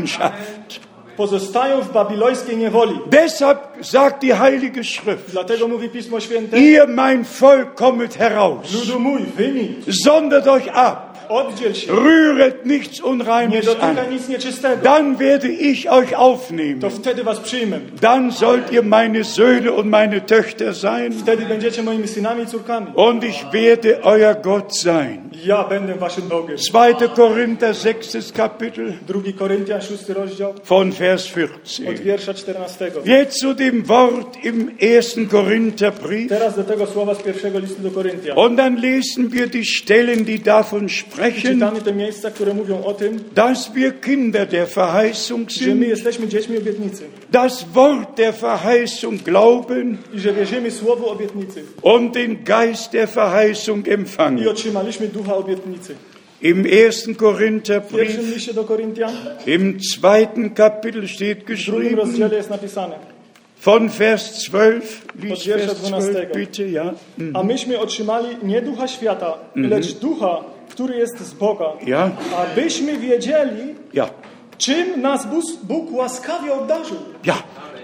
Gefangenschaft. pozostają w babilońskiej niewoli. Deshalb sagt die Heilige Schrift, Dlatego mówi Pismo Święte, Ihr, mein Volk, kommet heraus, ludu mój, wymi, sondert euch ab, oddziel się, rühret nichts nie Unreines dotyka an. nic nieczystego, Dann werde ich euch to aufnehmen. wtedy was przyjmę. Dann sollt ihr meine Söhne und meine Töchter sein, Wtedy będziecie moimi synami i córkami. und ich werde euer Gott sein. Ja będę waszym Bogiem. 2. Korinther 6. Kapitel 2 Koryntian, 6 rozdział, von Vers od 14. wiersza 14. Jetzt zu dem Wort im 1. Korintherbrief. Teraz do tego słowa z pierwszego listu do Koryntian. Und dann lesen wir die Stellen, die davon sprechen, Czytamy te miejsca, które mówią o tym, dass wir Kinder der Verheißung że sind. my jesteśmy dziećmi obietnicy das Wort der Verheißung glauben i że wierzymy słowu obietnicy und den Geist der Verheißung i empfangen. otrzymaliśmy ducha obietnicy. Im ersten W pierwszym Korintherbrief, liście do Koryntian, im zweiten Kapitel steht w drugim geschrieben, rozdziale jest napisane von Vers 12, lies Od wiersza Vers 12. 12 bitte, ja. A myśmy otrzymali nie ducha świata, lecz ducha, który jest z Boga. Ja. Abyśmy wiedzieli, Ja, czym nas Bóg- Bóg łaskawie obdarzył. ja.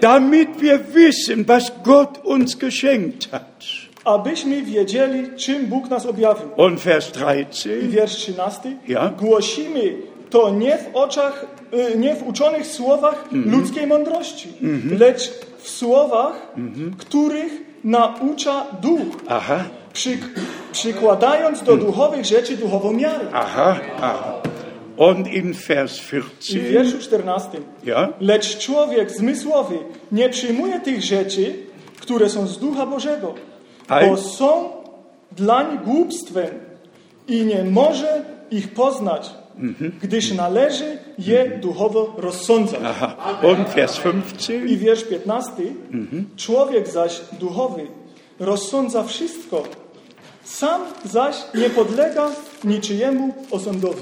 Damit wir wissen, was Gott uns geschenkt hat. Abyśmy wiedzieli, czym Bóg nas objawił. Und Vers I 13, wiersz 13. Ja. Głosimy to nie w oczach, y, nie w uczonych słowach ludzkiej mądrości, lecz w słowach, których naucza duch, aha, przyk- przykładając do duchowych rzeczy duchową miarę. aha, aha. Und in Vers I w 14, wierszu 14. ja, Lecz człowiek zmysłowy nie przyjmuje tych rzeczy, które są z Ducha Bożego, Ale- bo są dlań głupstwem i nie może ich poznać, gdyż należy je duchowo rozsądzać. aha. Und Vers 15, I wiersz 15. Człowiek zaś duchowy rozsądza wszystko, sam zaś nie podlega niczyjemu osądowi.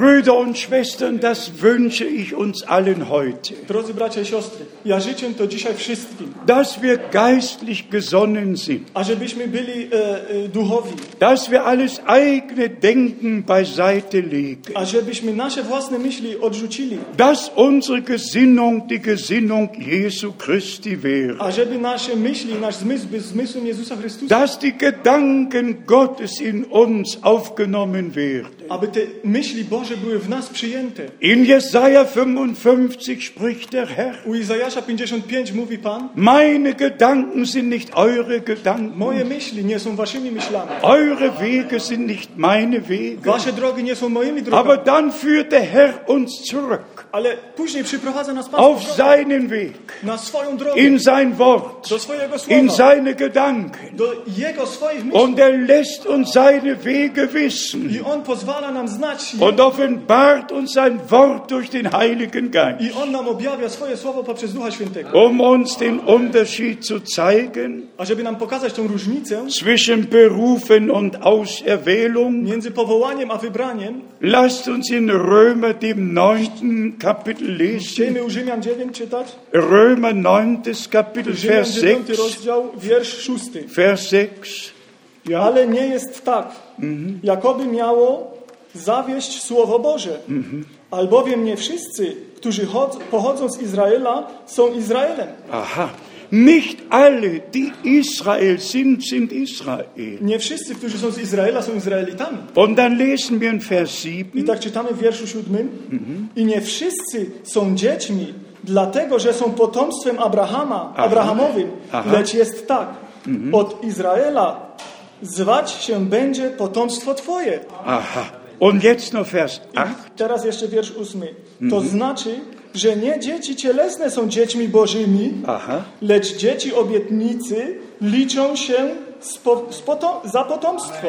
Brüder und Schwestern, das wünsche ich uns allen heute, Drodzy bracia i siostry, ja życzę to dzisiaj wszystkim, dass wir geistlich gesonnen sind, ażebyśmy byli e, e, duchowi, dass wir alles eigene Denken beiseite legen, ażebyśmy nasze własne myśli odrzucili, dass unsere Gesinnung die Gesinnung Jesu Christi wäre, ażeby nasze myśli, nasz zmysł był zmysłem Jezusa Chrystusa, dass die Gedanken Gottes in uns aufgenommen werden. aby te myśli Boże były w nas przyjęte. In Jesaja 55 spricht der Herr, U Izajasza 55 mówi Pan, meine Gedanken sind nicht eure Gedanken, moje myśli nie są waszymi myślami, eure Wege sind nicht meine Wege. wasze drogi nie są moimi Aber drogami, dann führt der Herr uns zurück ale później przyprowadza nas Pan auf z powrotem seinen Weg, na swoją drogę, in sein Wort, do swojego in słowa, seine Gedanken. do Jego swoich myśli Und er lässt uns seine Wege wissen. i On pozwala nam znać je. und offenbart uns sein Wort durch den Heiligen Geist, I On nam objawia swoje słowo poprzez Ducha Świętego, um uns den Unterschied zu zeigen a żeby nam pokazać tą różnicę zwischen Berufen und Auserwählung. między powołaniem a wybraniem. Lasst uns in Römer dem neunten Kapitel lesen. Chcielibyśmy u Rzymian 9 czytać, Römer 9. Kapitel, Rzymian Vers 9 6. rozdział, wiersz 6. Vers 6. Ja. Ale nie jest tak, jakoby miało zawieść Słowo Boże. Albowiem nie wszyscy, którzy chod- pochodzą z Izraela, są Izraelem. Aha. Nicht alle, die Israel sind, sind Israel. Nie wszyscy, którzy są z Izraela, są Izraelitami. Und dann lesen wir in Vers 7. I tak czytamy w wierszu siódmym. I nie wszyscy są dziećmi, dlatego że są potomstwem Abrahama, Abrahamowym, Aha. lecz jest tak. Od Izraela zwać się będzie potomstwo Twoje. Aha. Und jetzt noch Vers 8. Teraz jeszcze wiersz ósmy. To znaczy, że nie dzieci cielesne są dziećmi bożymi, Aha. lecz dzieci obietnicy liczą się z po, z poto, za potomstwo.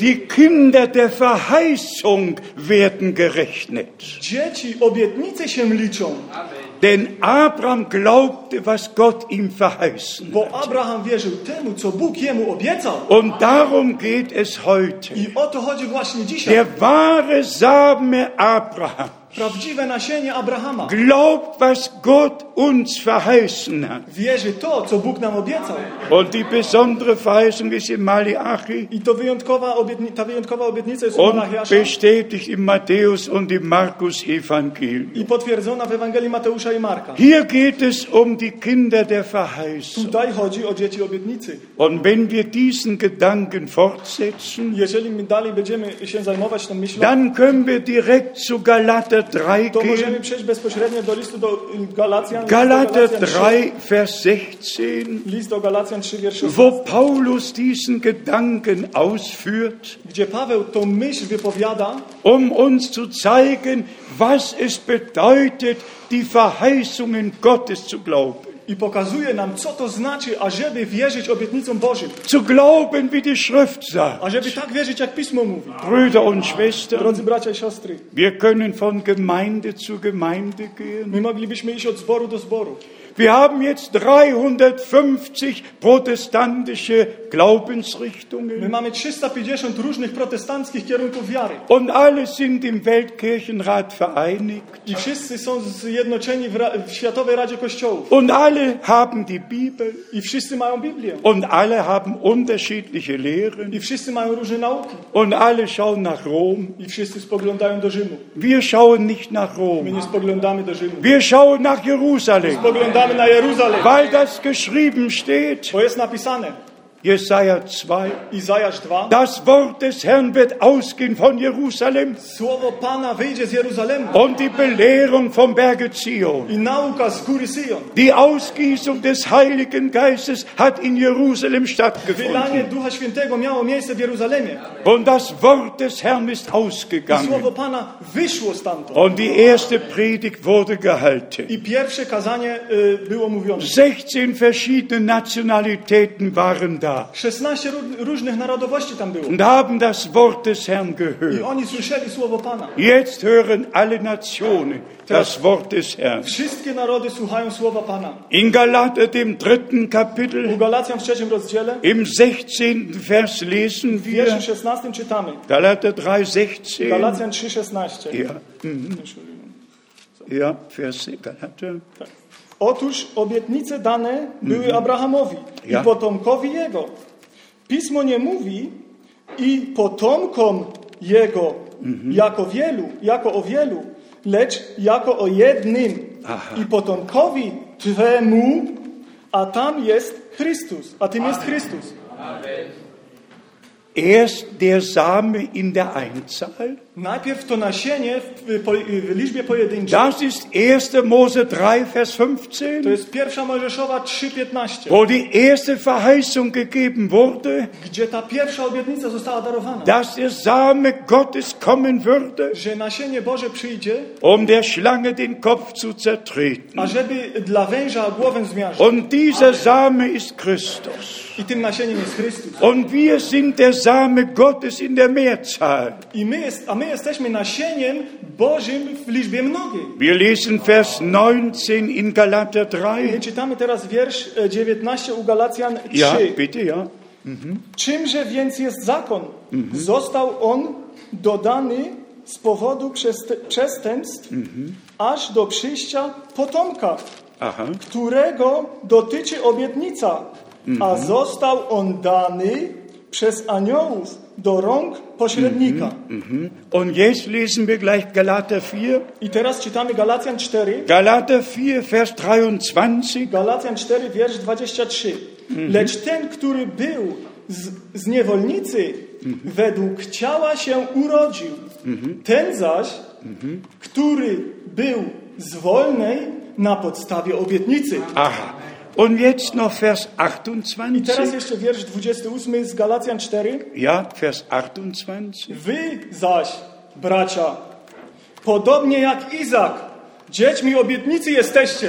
Die Kinder der Verheißung werden gerechnet. Dzieci obietnicy się liczą, Denn Abraham glaubte, was Gott ihm verheißen. bo Abraham wierzył temu, co Bóg jemu obiecał. Und darum geht es heute. I o to chodzi właśnie dzisiaj. Der wahre Same Abraham Prawdziwe nasienie Abrahama glaubt, was Gott uns verheißen hat. wierzy to, co Bóg nam obiecał. Und die besondere Verheißung ist in Malachi I to wyjątkowa obietni- ta wyjątkowa obietnica jest u und Malachiasza bestätigt im Matthäus und im Markus Evangelium. i potwierdzona w Ewangelii Mateusza i Marka. Hier geht es um die Kinder der Verheißung. Tutaj chodzi o dzieci obietnicy. Und wenn wir diesen Gedanken fortsetzen, Jeżeli my dalej będziemy się zajmować tą myślą, dann können wir direkt zu Galater 3 to możemy gehen. przejść bezpośrednio do listu do y, Galacjan. Galater list do Galacjan 3, 3, Vers 16, list do Galacjan 3, wiersz 6, wo Paulus diesen Gedanken ausführt, gdzie Paweł tą myśl wypowiada, um uns zu zeigen, was es bedeutet, die Verheißungen Gottes zu glauben. i pokazuje nam, co to znaczy, ażeby wierzyć obietnicom Bożym. Zu glauben, wie die Schrift sagt. Ażeby tak wierzyć, jak Pismo mówi. Brüder und Drodzy Schwestern, bracia i siostry, wir können von Gemeinde zu Gemeinde gehen. My moglibyśmy iść od zboru do zboru. Wir haben jetzt 350 protestantische My Glaubensrichtungen mamy 350 różnych protestanckich kierunków wiary. und alle sind im Weltkirchenrat vereinigt I wszyscy są zjednoczeni w, ra- w Światowej Radzie Kościołów. und alle haben die Bibel I wszyscy mają Biblię. und alle haben unterschiedliche Lehren I wszyscy mają różne nauki. und alle schauen nach Rom. I wszyscy spoglądają do Rzymu. Wir schauen nicht nach My Rom, nie spoglądamy do Rzymu. wir schauen nach Jerusalem, Spoglądamy na Jeruzalem, weil das geschrieben steht, bo jest napisane. Jesaja 2. Izajasz 2. Das Wort des Herrn wird ausgehen von Jerusalem Słowo Pana wyjdzie z Jeruzalemu. und die Belehrung vom Berge Zion. I nauka z góry Syjon. Die Ausgießung des Heiligen Geistes hat in Jerusalem Wylanie stattgefunden. Ducha Świętego miało miejsce w Jeruzalemie. Und das Wort des Herrn ist I ausgegangen. słowo Pana wyszło stamtąd. Und die erste Predigt wurde gehalten. I pierwsze kazanie y, było mówione. 16 verschiedene Nationalitäten waren Völker 16 ró- różnych narodowości tam było. und haben das Wort des Herrn I gehört. oni słyszeli słowo Pana. Jetzt hören alle Nationen das Wort des Herrn. Wszystkie narody słuchają słowa Pana. In Galater, dem dritten U Kapitel, Galacjan w trzecim rozdziale, im 16. Vers lesen w wierszu wir, 16 czytamy. Galater 3, 16, Galacjan 3,16. ja, mhm, ja, Vers, Galater, Tak. Otóż obietnice dane były Abrahamowi Mhm. Ja. i potomkowi jego. Pismo nie mówi i potomkom jego Mhm. jako wielu, jako o wielu, lecz jako o jednym Aha. i potomkowi twemu, a tam jest Chrystus, a tym jest Chrystus. erst der Same in der Einzahl, Najpierw to nasienie w, po, w liczbie pojedynczej. das ist 1. Mose 3, Vers To 15, jest pierwsza Mojżeszowa 3.15, wo die erste Verheißung gegeben wurde, gdzie ta pierwsza obietnica została darowana. dass der Same Gottes kommen würde, Że nasienie Boże przyjdzie um der Schlange den Kopf zu zertreten. ażeby dla węża głowę zmiażdżył. Und dieser Same ist Christus. I tym nasieniem jest Chrystus. Und wir sind der Same Gottes in der Mehrzahl. I my jest, a my jesteśmy nasieniem Bożym w liczbie mnogiej. Wir lesen Vers 19 in Galater My 3. czytamy teraz wiersz e, 19 u Galacjan 3. Ja, bitte, ja. Czymże więc jest zakon? Mhm. Został on dodany z powodu przest- przestępstw Mhm. aż do przyjścia potomka, Aha. którego dotyczy obietnica, a Mhm. został on dany przez aniołów do rąk pośrednika. Mhm. Und jetzt lesen wir gleich Galater 4. I teraz czytamy Galacjan 4, Galater 4, Vers 23. Galacjan 4, wiersz 23. Lecz ten, który był z, z niewolnicy, według ciała się urodził. Ten zaś, który był z wolnej na podstawie obietnicy. Aha. Und jetzt noch Vers I teraz 28. jeszcze wiersz 28 z Galacjan 4. Ja, Vers 28. Wy zaś, bracia, podobnie jak Izak, dziećmi obietnicy jesteście.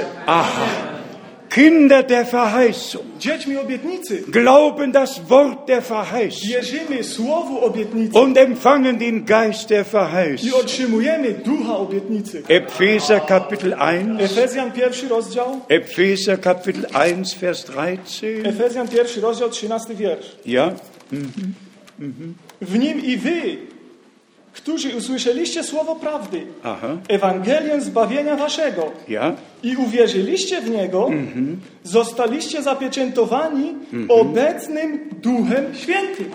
Kinder der Verheißung. Dziećmi obietnicy. glauben das Wort der Verheißung Wierzymy słowu obietnicy. und empfangen den Geist der I Verheißung. otrzymujemy ducha obietnicy. Epheser Kapitel 1, Efezjan pierwszy rozdział, Epheser Kapitel 1, Vers 13. Efezjan pierwszy rozdział, 13 wiersz. Ja, W nim i wy, którzy usłyszeliście słowo prawdy, aha, Ewangelię zbawienia waszego ja, i uwierzyliście w niego, zostaliście zapieczętowani obecnym Duchem Świętym.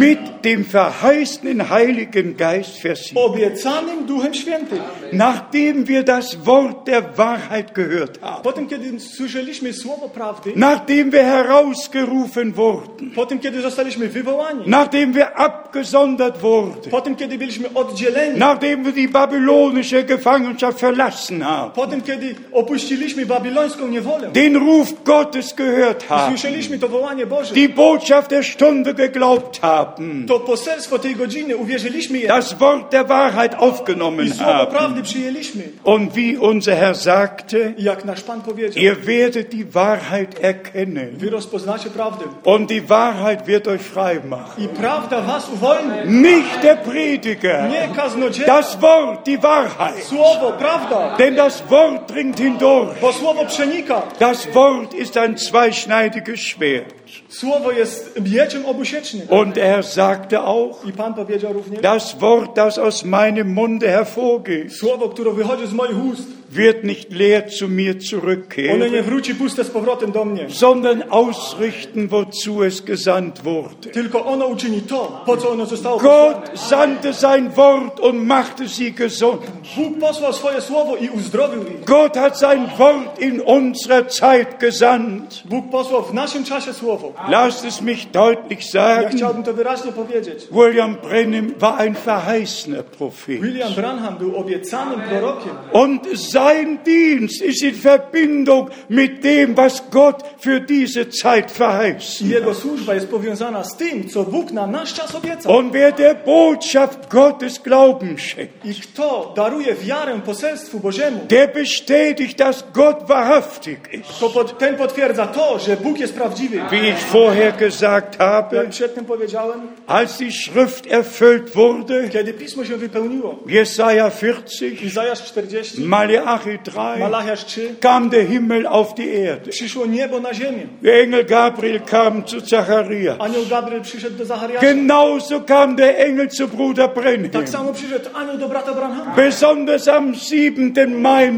mit dem verheißenen Heiligen Geist Vers 7. Obiecanym Duchem Świętym. Nachdem wir das Wort der Wahrheit gehört haben, Potem, kiedy słyszeliśmy słowo prawdy, nachdem wir herausgerufen wurden, potem, kiedy zostaliśmy wywołani, nachdem wir abgesondert wurden, potem, kiedy byliśmy oddzieleni, nachdem wir die babylonische Gefangenschaft verlassen haben, Potem, kiedy opuściliśmy babilońską niewolę, den Ruf Gottes gehört haben, słyszeliśmy to wołanie Boże, die Botschaft der Stunde geglaubt haben, to poselstwo tej godziny, uwierzyliśmy je das Wort der Wahrheit i aufgenommen słowo haben. prawdy przyjęliśmy. Und wie unser Herr sagte, I jak nasz Pan powiedział, ihr werdet die Wahrheit erkennen wy rozpoznacie prawdę und die Wahrheit wird euch frei machen. i prawda was uwolni. Nicht der Prediger, Nie kaznodzieja, das Wort, die Wahrheit. słowo, prawda, Denn das Wort dringt hindurch. bo słowo przenika. Das Wort ist ein zweischneidiges Schwert. Słowo jest mieczem obusiecznym. Und er sagte auch, I Pan powiedział również, das Wort, das aus meinem Munde hervorgeht, słowo, które wychodzi z moich ust, wird nicht leer zu mir ono zurückkehren, nie wróci puste z powrotem do mnie, sondern ausrichten, wozu es gesandt wurde. tylko ono uczyni to, po co ono zostało posłane. Gott sandte sein Wort und machte sie gesund. Bóg posłał swoje słowo i uzdrowił ich. Gott hat sein Wort in unserer Zeit gesandt. Bóg posłał w naszym czasie słowo. Lasst es mich deutlich Ja sagen, chciałbym to wyraźnie powiedzieć. William Branham war ein verheißener Prophet. William Branham był obiecanym prorokiem Und sein Dienst ist in Verbindung mit dem, was Gott für diese Zeit verheißt. I jego służba jest powiązana z tym, co Bóg na nasz czas obiecał. Und wer der Botschaft Gottes Glauben schenkt, I kto daruje wiarę poselstwu Bożemu, der bestätigt, dass Gott wahrhaftig ist. to pod, ten potwierdza to, że Bóg jest prawdziwy. Wie ich vorher gesagt Jak habe, przedtem powiedziałem, als die Schrift erfüllt wurde, kiedy Pismo się wypełniło, Jesaja 40, Izajasz 40, Malachi 3, Malachiasz 3, kam der Himmel auf die Erde. przyszło niebo na ziemię. Der Engel Gabriel kam zu Zacharias. Anioł Gabriel przyszedł do Zachariasza. Genauso kam der Engel zu Bruder Brenhem. Tak samo przyszedł anioł do brata Branhama. Besonders am 7. Mai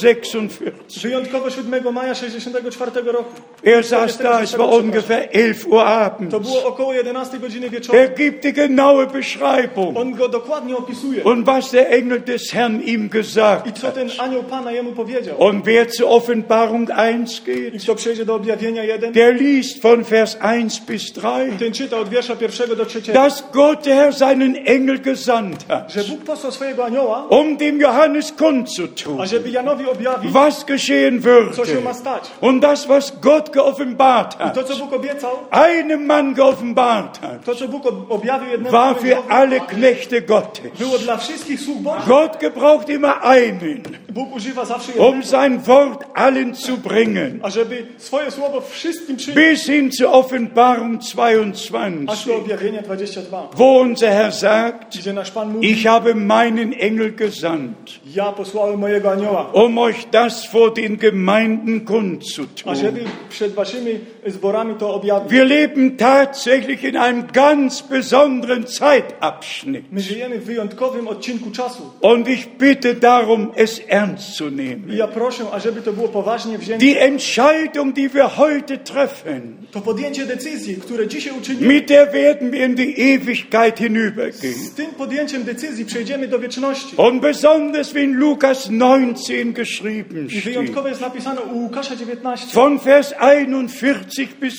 1946. Wyjątkowo 7 maja 64 roku. Er saß da, es war ungefähr 11 Uhr abends. To było około 11 godziny Er wieczorem. gibt die genaue Beschreibung On go dokładnie opisuje. und was der Engel des Herrn ihm I gesagt co hat. ten anioł Pana jemu powiedział? Und wer zur Offenbarung 1 I geht, kto przejdzie do objawienia 1, der liest von Vers 1 bis 3, ten czyta od wiersza pierwszego do trzeciego, dass Gott der Herr seinen Engel gesandt hat, że Bóg posłał swojego anioła, um dem Johannes kundzutun, ażeby Janowi objawił, was geschehen co się ma würde stać. und das, was Gott geoffenbart To, co hat, Bóg obiecał, einem Mann geoffenbart hat, to, co Bóg ob- objawił jednemu war für człowiekowi, alle Knechte Gottes. było dla wszystkich sług Bożych. Gott gebraucht immer einen, Bóg używa zawsze jednego, um sein Wort allen zu bringen, ażeby swoje słowo wszystkim przyjął, bis hin zur Offenbarung aż 22, do objawienia 22, wo unser Herr sagt, gdzie nasz Pan mówi, ich habe meinen Engel gesandt, ja posłałem mojego anioła, um euch das vor den Gemeinden kundzutun. ażeby przed waszymi zborami to objawił. Wir leben tatsächlich in einem ganz besonderen Zeitabschnitt. My żyjemy w wyjątkowym odcinku czasu. Und ich bitte darum, es ernst zu I nehmen. ja proszę, ażeby to było poważnie wzięte. Die Entscheidung, die wir heute treffen, To podjęcie decyzji, które dzisiaj uczynimy, mit der werden wir in die Ewigkeit hinübergehen. z tym podjęciem decyzji przejdziemy do wieczności. Und besonders, wie in Lukas 19 geschrieben I steht, wyjątkowo jest napisane u Łukasza 19, von Vers 41 bis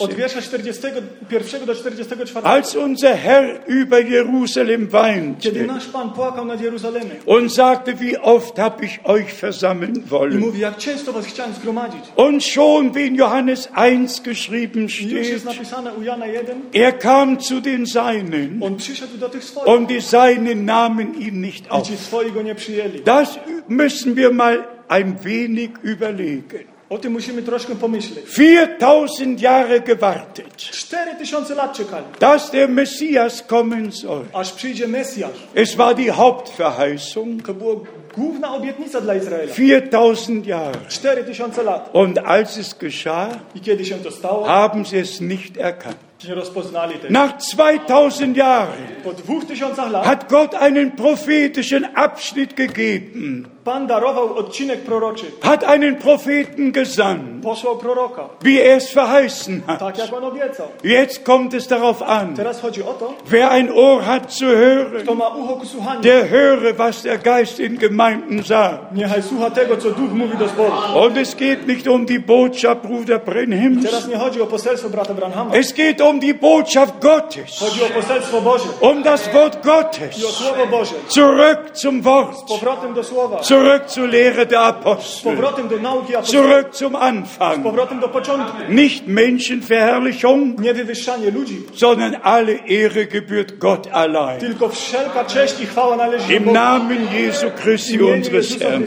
od 44, wiersza 41 do 44, als unser Herr über Jerusalem kiedy weinte nasz Pan płakał nad Jeruzalemem und sagte, wie oft habe ich euch versammeln i wollen. mówi, jak często was chciałem zgromadzić. Und schon, wie in Johannes 1 geschrieben I już jest steht, napisane u Jana 1, Er kam zu den Seinen on przyszedł do tych swoich und die Seinen nahmen ihn nicht i auf. ci swoi go nie przyjęli. Das müssen wir mal ein wenig überlegen. O tym musimy troszkę pomyśleć. 4000 Jahre gewartet, 4000 lat czekali, dass der Messias kommen soll. aż przyjdzie Mesjasz. Es war die Hauptverheißung. To była główna obietnica dla Izraela. 4000 Jahre. 4000 lat. Und als es geschah, I kiedy się to stało, haben sie es nicht erkannt. nie rozpoznali tego. Nach 2000 Jahren Po 2000 lat hat Gott einen prophetischen Abschnitt gegeben, Pan darował odcinek proroczy. hat einen Propheten gesandt. Posłał proroka, wie er es verheißen tak hat. jak on obiecał. Jetzt kommt es darauf an, Teraz chodzi o to, wer ein Ohr hat zu hören, kto ma ucho ku słuchaniu. der höre, was der Geist in Gemeinden sagt. Niechaj słucha tego, co Duch mówi do zboru. Und es geht nicht um die Botschaft Bruder Teraz Brenhims, nie chodzi o poselstwo brata Branhama. es geht um die Botschaft Gottes, Chodzi o poselstwo Boże um das Wort i o Gottes. Słowo Boże. Zurück zum Wort, Powrotem do Słowa, zurück zur Lehre der Apostel, powrotem do nauki apostolskiej, zurück zum Anfang. powrotem do początku. Nicht Menschenverherrlichung, Nie wywyższanie ludzi, sondern alle Ehre gebührt Gott allein. tylko wszelka cześć i chwała należy do Im Boga. Namen Jesu Christi, unseres Herrn.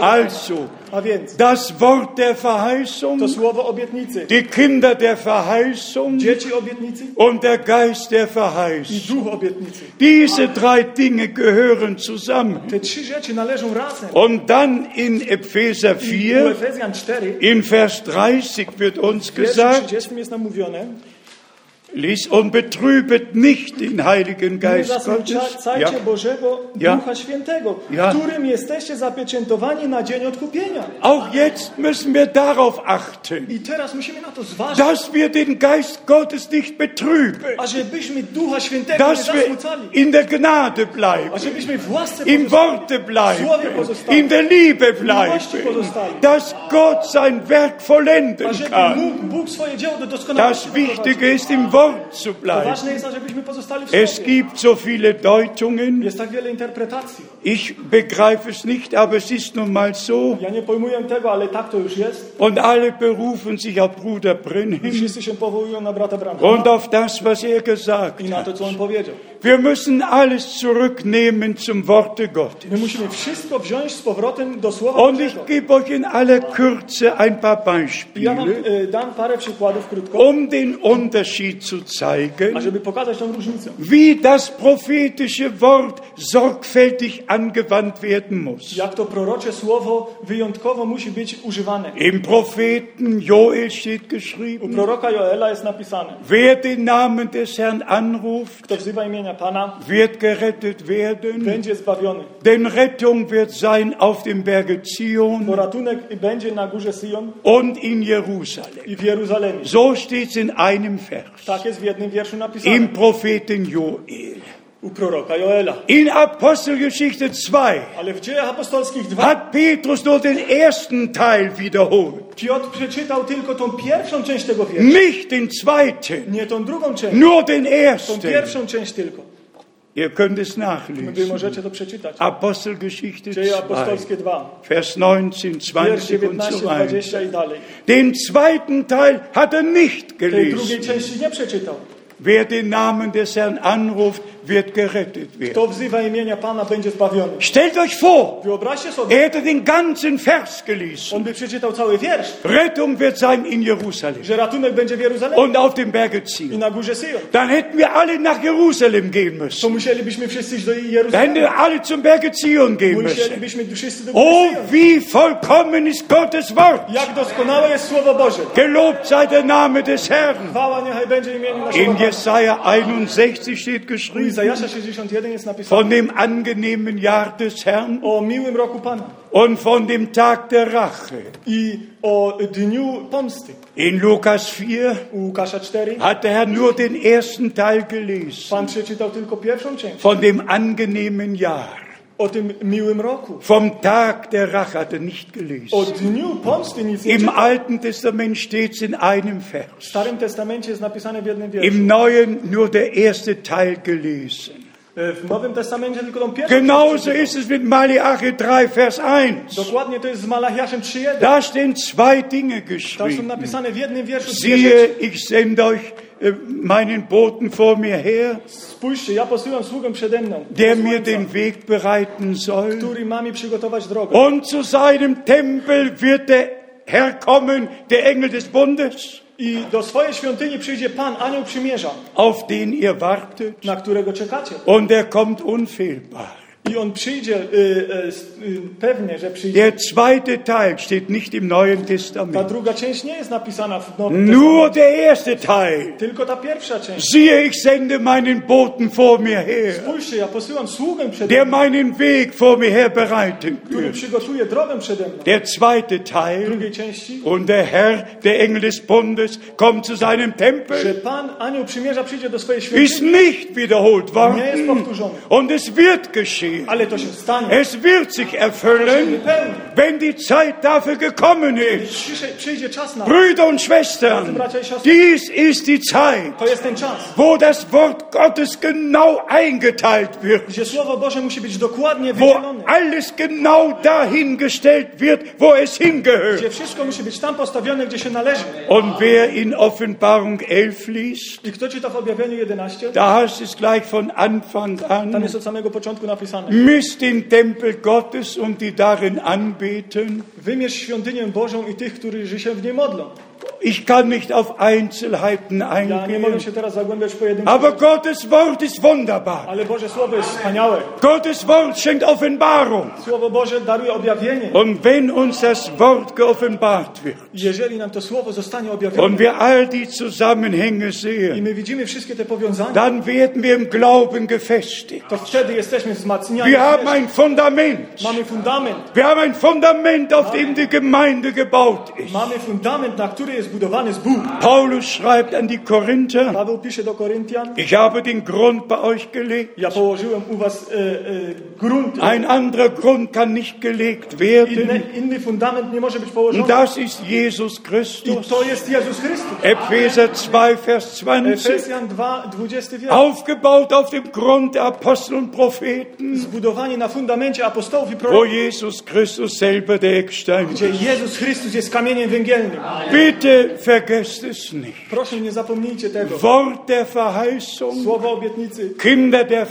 Also, A więc das Wort der to Verheißung, słowo obietnicy, die Kinder der Verheißung dzieci obietnicy und der Geist der i Verheißung. duch obietnicy. Diese drei Dinge gehören zusammen. Te trzy rzeczy należą razem. Und dann in Epheser I u 4, Efezjan 4, in Vers 30 wird uns wierszu gesagt, 30 jest nam mówione, lies und betrübet nicht den Heiligen nie Geist Gottes. zasmucajcie Ja. Bożego Ja. Ducha Świętego, Ja. którym jesteście zapieczętowani na dzień odkupienia. Auch jetzt müssen wir darauf achten, I teraz musimy na to zważyć, dass wir den Geist Gottes nicht betrüben. ażebyśmy Ducha Świętego nie dass wir zasmucali, in der Gnade bleiben, ażebyśmy w łasce im pozostali, Worte Słowie bleiben, pozostali, in der Liebe miłości bleiben, pozostali. dass Gott sein Werk vollenden ażeby kann. mógł Bóg swoje dzieło do doskonałości Das doprowadzić. Wichtige ist, im dort zu To bleiben. ważne jest, ażebyśmy pozostali w Es sobie. gibt so viele Deutungen. Jest tak wiele interpretacji. Ich begreife es nicht, aber es ist nun mal so. Ja nie pojmuję tego, ale tak to już jest. Und alle berufen sich auf Bruder I Brenhem wszyscy się powołują na brata Branhama und auf das, was er gesagt i hat. na to, co on powiedział. Wir müssen alles zurücknehmen zum Worte Gottes. My musimy wszystko wziąć z powrotem do słowa Und Bożego. ich gebe euch in aller Kürze ein paar I Ja wam Beispiele, e, dam parę przykładów krótko, um den Unterschied zu zeigen, ażeby pokazać tą różnicę. wie das prophetische Wort sorgfältig angewandt werden muss. Jak to prorocze słowo wyjątkowo musi być używane. Im Propheten Joel steht U geschrieben, proroka Joela jest napisane, wer den Namen des Herrn anruft, kto wzywa imienia Pana, wird gerettet werden, będzie zbawiony. denn Rettung wird sein auf dem Berge Bo Zion ratunek będzie na górze Syjon und in Jerusalem. i w Jeruzalemie. So steht es in einem Vers. Tak jest w jednym wierszu napisane. im Propheten Joel. U proroka Joela. In Apostelgeschichte 2 Ale w dziejach apostolskich 2 hat Petrus nur den ersten Teil wiederholt, Piotr przeczytał tylko tą pierwszą część tego wiersza. nicht den zweiten, Nie tą drugą część, nur den tą ersten. pierwszą część tylko. Ihr könnt es Wy nachlesen. możecie to przeczytać. Apostelgeschichte Dzieje 2, apostolskie 2, Vers 19, wiersz 20 und 19, so weiter. 20 i dalej. Den zweiten Teil hat er nicht Tej drugiej gelesen. części nie przeczytał. Wer den Namen des Herrn anruft, wird gerettet werden. Kto wzywa imienia Pana będzie zbawiony. Stellt euch vor, Wyobraźcie sobie, er hätte den ganzen Vers gelesen. on by przeczytał cały wiersz, Rettung wird sein in Jerusalem że ratunek będzie w Jeruzalemie und auf dem Berge i ziehen. na górze Syjon. Dann hätten wir alle nach Jerusalem gehen To müssen. musielibyśmy wszyscy iść do Dann hätten Jeruzalemu. wir alle zum Berge Zion gehen müssen. Musielibyśmy wszyscy do Oh, góry Syjon. wie vollkommen ist Gottes Wort. Jak doskonałe jest Słowo Boże. Gelobt sei der Name des Herrn. Chwała niechaj będzie imieniu naszego In Pana. Jesaja 61 steht U geschrieben, Izajasza 61 jest napisane von dem angenehmen Jahr des Herrn o miłym roku Pana und von dem Tag der Rache. i o dniu pomsty. In Lukas 4 U Łukasza 4 hat der Herr nur den ersten Teil gelesen, Pan przeczytał tylko pierwszą część von dem angenehmen Jahr. o tym miłym roku. Vom Tag der Rache hat er nicht O Oh, gelesen. dniu pomsty nic nie Im czytał. Alten Testament steht es in einem W Vers. Starym Testamencie jest napisane w jednym wierszu. Im Neuen nur der erste Teil gelesen. E, W Nowym Testamencie tylko tą pierwszą część Genauso czytał. ist es mit Malachi 3, Vers 1. Dokładnie to jest z Malachiaszem 3.1. Da stehen zwei Dinge Tam są geschrieben. napisane w jednym wierszu dwie Siehe, rzeczy. ich sende euch äh, meinen Boten vor mir her, Spójrzcie, ja posyłam sługę przede mną, der mir posłańca, den Weg bereiten soll. który ma mi przygotować drogę. Und zu seinem Tempel wird der Herr kommen, der Engel des Bundes, I do swojej świątyni przyjdzie Pan, anioł przymierza, auf den ihr wartet. na którego czekacie. Und er kommt unfehlbar. I on przyjdzie, y, y, s- y, pewnie, że przyjdzie. Der zweite Teil steht nicht im Neuen Ta Testament. druga część nie jest napisana w Nowym Nur Testamencie, der erste Teil. tylko ta pierwsza część. Siehe, ich sende meinen Boten vor mir her, Spójrzcie, ja posyłam sługę przede der mną, meinen Weg vor mir her bereiten który wird. przygotuje drogę przede mną. Der zweite Teil. drugiej części, Und der Herr, der Engel des Bundes, kommt zu seinem że Tempel. Pan, anioł przymierza, przyjdzie do swojej świątyni. Ist nicht wiederholt Nie jest worden. powtórzony. Und es wird geschehen. Ale to się stanie. Es wird sich erfüllen, wenn die Zeit dafür gekommen ist. Przyjdzie, przyjdzie czas na to. Brüder und Schwestern, dies ist die Zeit, To jest ten czas, wo das Wort Gottes genau eingeteilt wird, gdzie Słowo Boże musi być dokładnie wo wydzielone. alles genau dahin gestellt wird, wo es hingehört. Gdzie wszystko musi być tam postawione, gdzie się należy. Und wer in Offenbarung 11 liest, I kto czyta w objawieniu 11? da heißt es gleich von Anfang Tam an, jest od samego początku napisane. misst den Tempel Gottes und die darin anbeten. Wymierz świątynię Bożą i tych, którzy się w niej modlą. Ich kann nicht auf Einzelheiten Ja nie mogę eingehen, się teraz zagłębiać w pojedyncze. aber Gottes Wort ist wunderbar. Ale Boże Słowo jest wspaniałe. Gottes Wort schenkt Offenbarung. Słowo Boże daruje objawienie. Und wenn uns das Wort geoffenbart wird Jeżeli nam to Słowo zostanie objawione und wir all die Zusammenhänge i sehen, my widzimy wszystkie te powiązania, dann werden wir im Glauben gefestigt. to wtedy jesteśmy wzmacniani. Wir haben ein Fundament. Mamy fundament. Wir haben ein Fundament, auf dem die Gemeinde gebaut ist. Mamy fundament, na który jest zbudowany z Bóg. Paulus schreibt an die Korinther, Paweł pisze do Koryntian, ich habe den Grund bei euch gelegt. ja położyłem u was e, e, grunt, Ein anderer Grund kann nicht gelegt inny, werden. inny fundament nie może być Und położony. das ist Jesus I Christus. to jest Jezus Chrystus. Epheser 2, Vers 20. Efezjan 2, 20 wiersz. Aufgebaut auf dem Grund der Apostel und Propheten, Zbudowani na fundamencie apostołów i wo proroków, Jesus Christus selber der Eckstein gdzie ist. Jezus Chrystus jest kamieniem węgielnym. Bitte vergesst es nicht. Proszę, nie zapomnijcie tego. Wort der Verheißung, Słowo obietnicy, Kinder der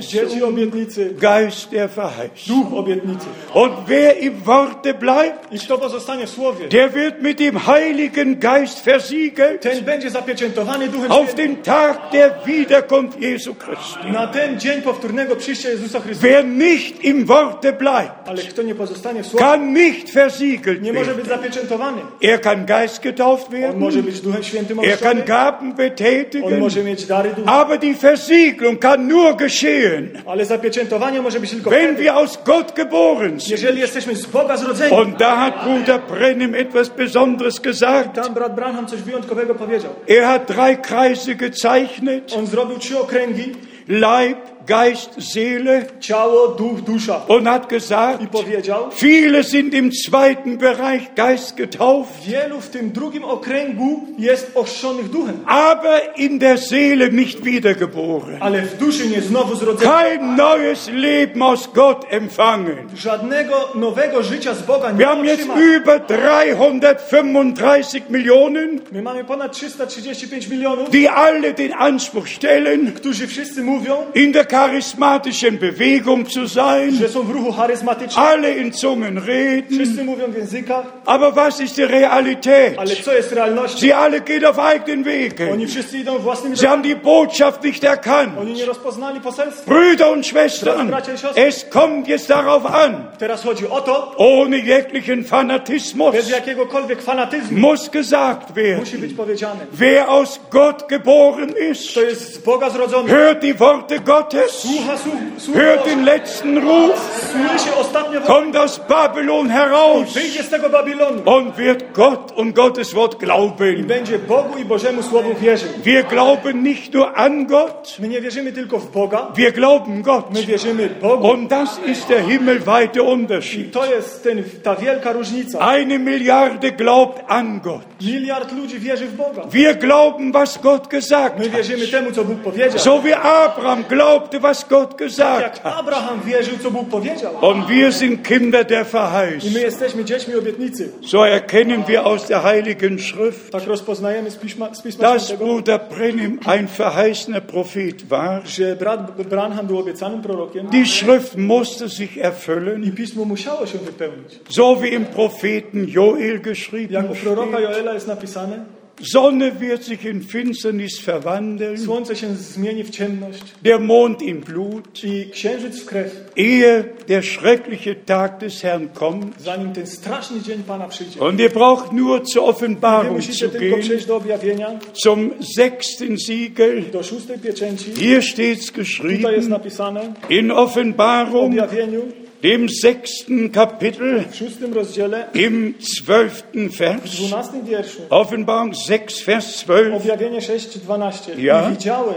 dzieci Verheißung, obietnicy, Geist der Verheißung. duch obietnicy. Und wer im Worte bleibt, I kto pozostanie w słowie, der wird mit dem Heiligen Geist versiegelt ten będzie zapieczętowany Duchem auf Świętym. den Tag der Wiederkunft Jesu Christi. Na ten dzień powtórnego przyjścia Jezusa Chrystusa. Wer nicht im Worte bleibt, Ale kto nie pozostanie w słowie, kann nicht versiegelt nie może werden. być zapieczętowany. Er kann geistgetauft On może werden, być Duchem Świętym er kann ochrzczony, Gaben on może betätigen, mieć dary ducha, aber die Versiegelung kann nur geschehen, ale zapieczętowanie może być tylko wenn wtedy, wir aus Gott geboren sind. jeżeli jesteśmy z Boga zrodzeni. Und da hat Bruder Brennim etwas Besonderes gesagt. Tam brat Branham coś wyjątkowego powiedział. Er hat drei Kreise gezeichnet, On zrobił trzy okręgi, Leib, Geist, Seele, ciało, duch, dusza. und hat gesagt, I powiedział, viele sind im zweiten Bereich Geist getauft, wielu w tym drugim okręgu jest ochrzczonych duchem, aber in der Seele nicht wiedergeboren. ale w duszy nie znowu zrodzeni. Kein neues Leben aus Gott empfangen. Żadnego nowego życia z Boga Wir nie haben jetzt otrzyma. über 335 Millionen, My mamy ponad 335 milionów, die alle den Anspruch stellen, którzy wszyscy mówią, in der charismatischen Bewegung zu sein, że są w ruchu charyzmatycznym. alle in Zungen reden. Wszyscy mówią w językach, Aber was ist die Realität? ale co jest realnością? Sie alle gehen auf eigenen Wegen. Oni wszyscy idą własnymi Sie drogami. haben die Botschaft nicht erkannt. Oni nie rozpoznali poselstwa. Brüder und Schwestern, Bracia i siostry. es kommt jetzt darauf an, Teraz chodzi o to, ohne jeglichen Fanatismus bez jakiegokolwiek fanatyzmu muss gesagt musi werden, być powiedziane. wer aus Gott geboren ist, To jest z Boga zrodzony. hört die Worte Gottes, Słucha słów, słów hört Bożych. den letzten Ruf, słyszy ostatnio wo- kommt aus Babylon heraus wyjdzie z tego Babilonu. und wird Gott und Gottes Wort glauben. Będzie Bogu i Bożemu Słowu wierzył. Wir glauben nicht nur an Gott, My nie wierzymy tylko w Boga, wir glauben Gott. my wierzymy Bogu. Und das ist der himmelweite Unterschied. To jest ten, ta wielka różnica. Eine Milliarde glaubt an Gott. Miliard ludzi wierzy w Boga. Wir glauben, was Gott gesagt My hat. wierzymy temu, co Bóg powiedział. Tak So wie Abraham glaubte, was Gott gesagt Jak hat. Abraham wierzył, co Bóg powiedział. Und wir sind Kinder der I my Verheißung. jesteśmy dziećmi obietnicy. So erkennen wir aus der Heiligen Schrift, Tak rozpoznajemy z Pisma, z pisma dass Świętego, Bruder Brennim ein verheißener Prophet war. że brat B- Branham był obiecanym prorokiem Die Schrift musste sich i erfüllen, Pismo musiało się wypełnić. so wie im Propheten Joel Jak u geschrieben proroka steht. Joela jest napisane, Sonne wird sich in Finsternis verwandeln, słońce się zmieni w ciemność der Mond in Blut, i księżyc w krew. ehe der schreckliche Tag des Herrn kommt. zanim ten straszny dzień Pana przyjdzie. Und ihr braucht nur zur Wy Offenbarung musicie zu tylko gehen, przejść do objawienia, zum sechsten Siegel. do szóstej pieczęci. Hier steht's Tutaj jest geschrieben, napisane in w Offenbarung, objawieniu dem sechsten Kapitel, w szóstym rozdziale, im zwölften w Vers. dwunastym wierszu. Offenbarung 6, Vers 12. Objawienie 6.12. Ja? Mhm. I widziałem,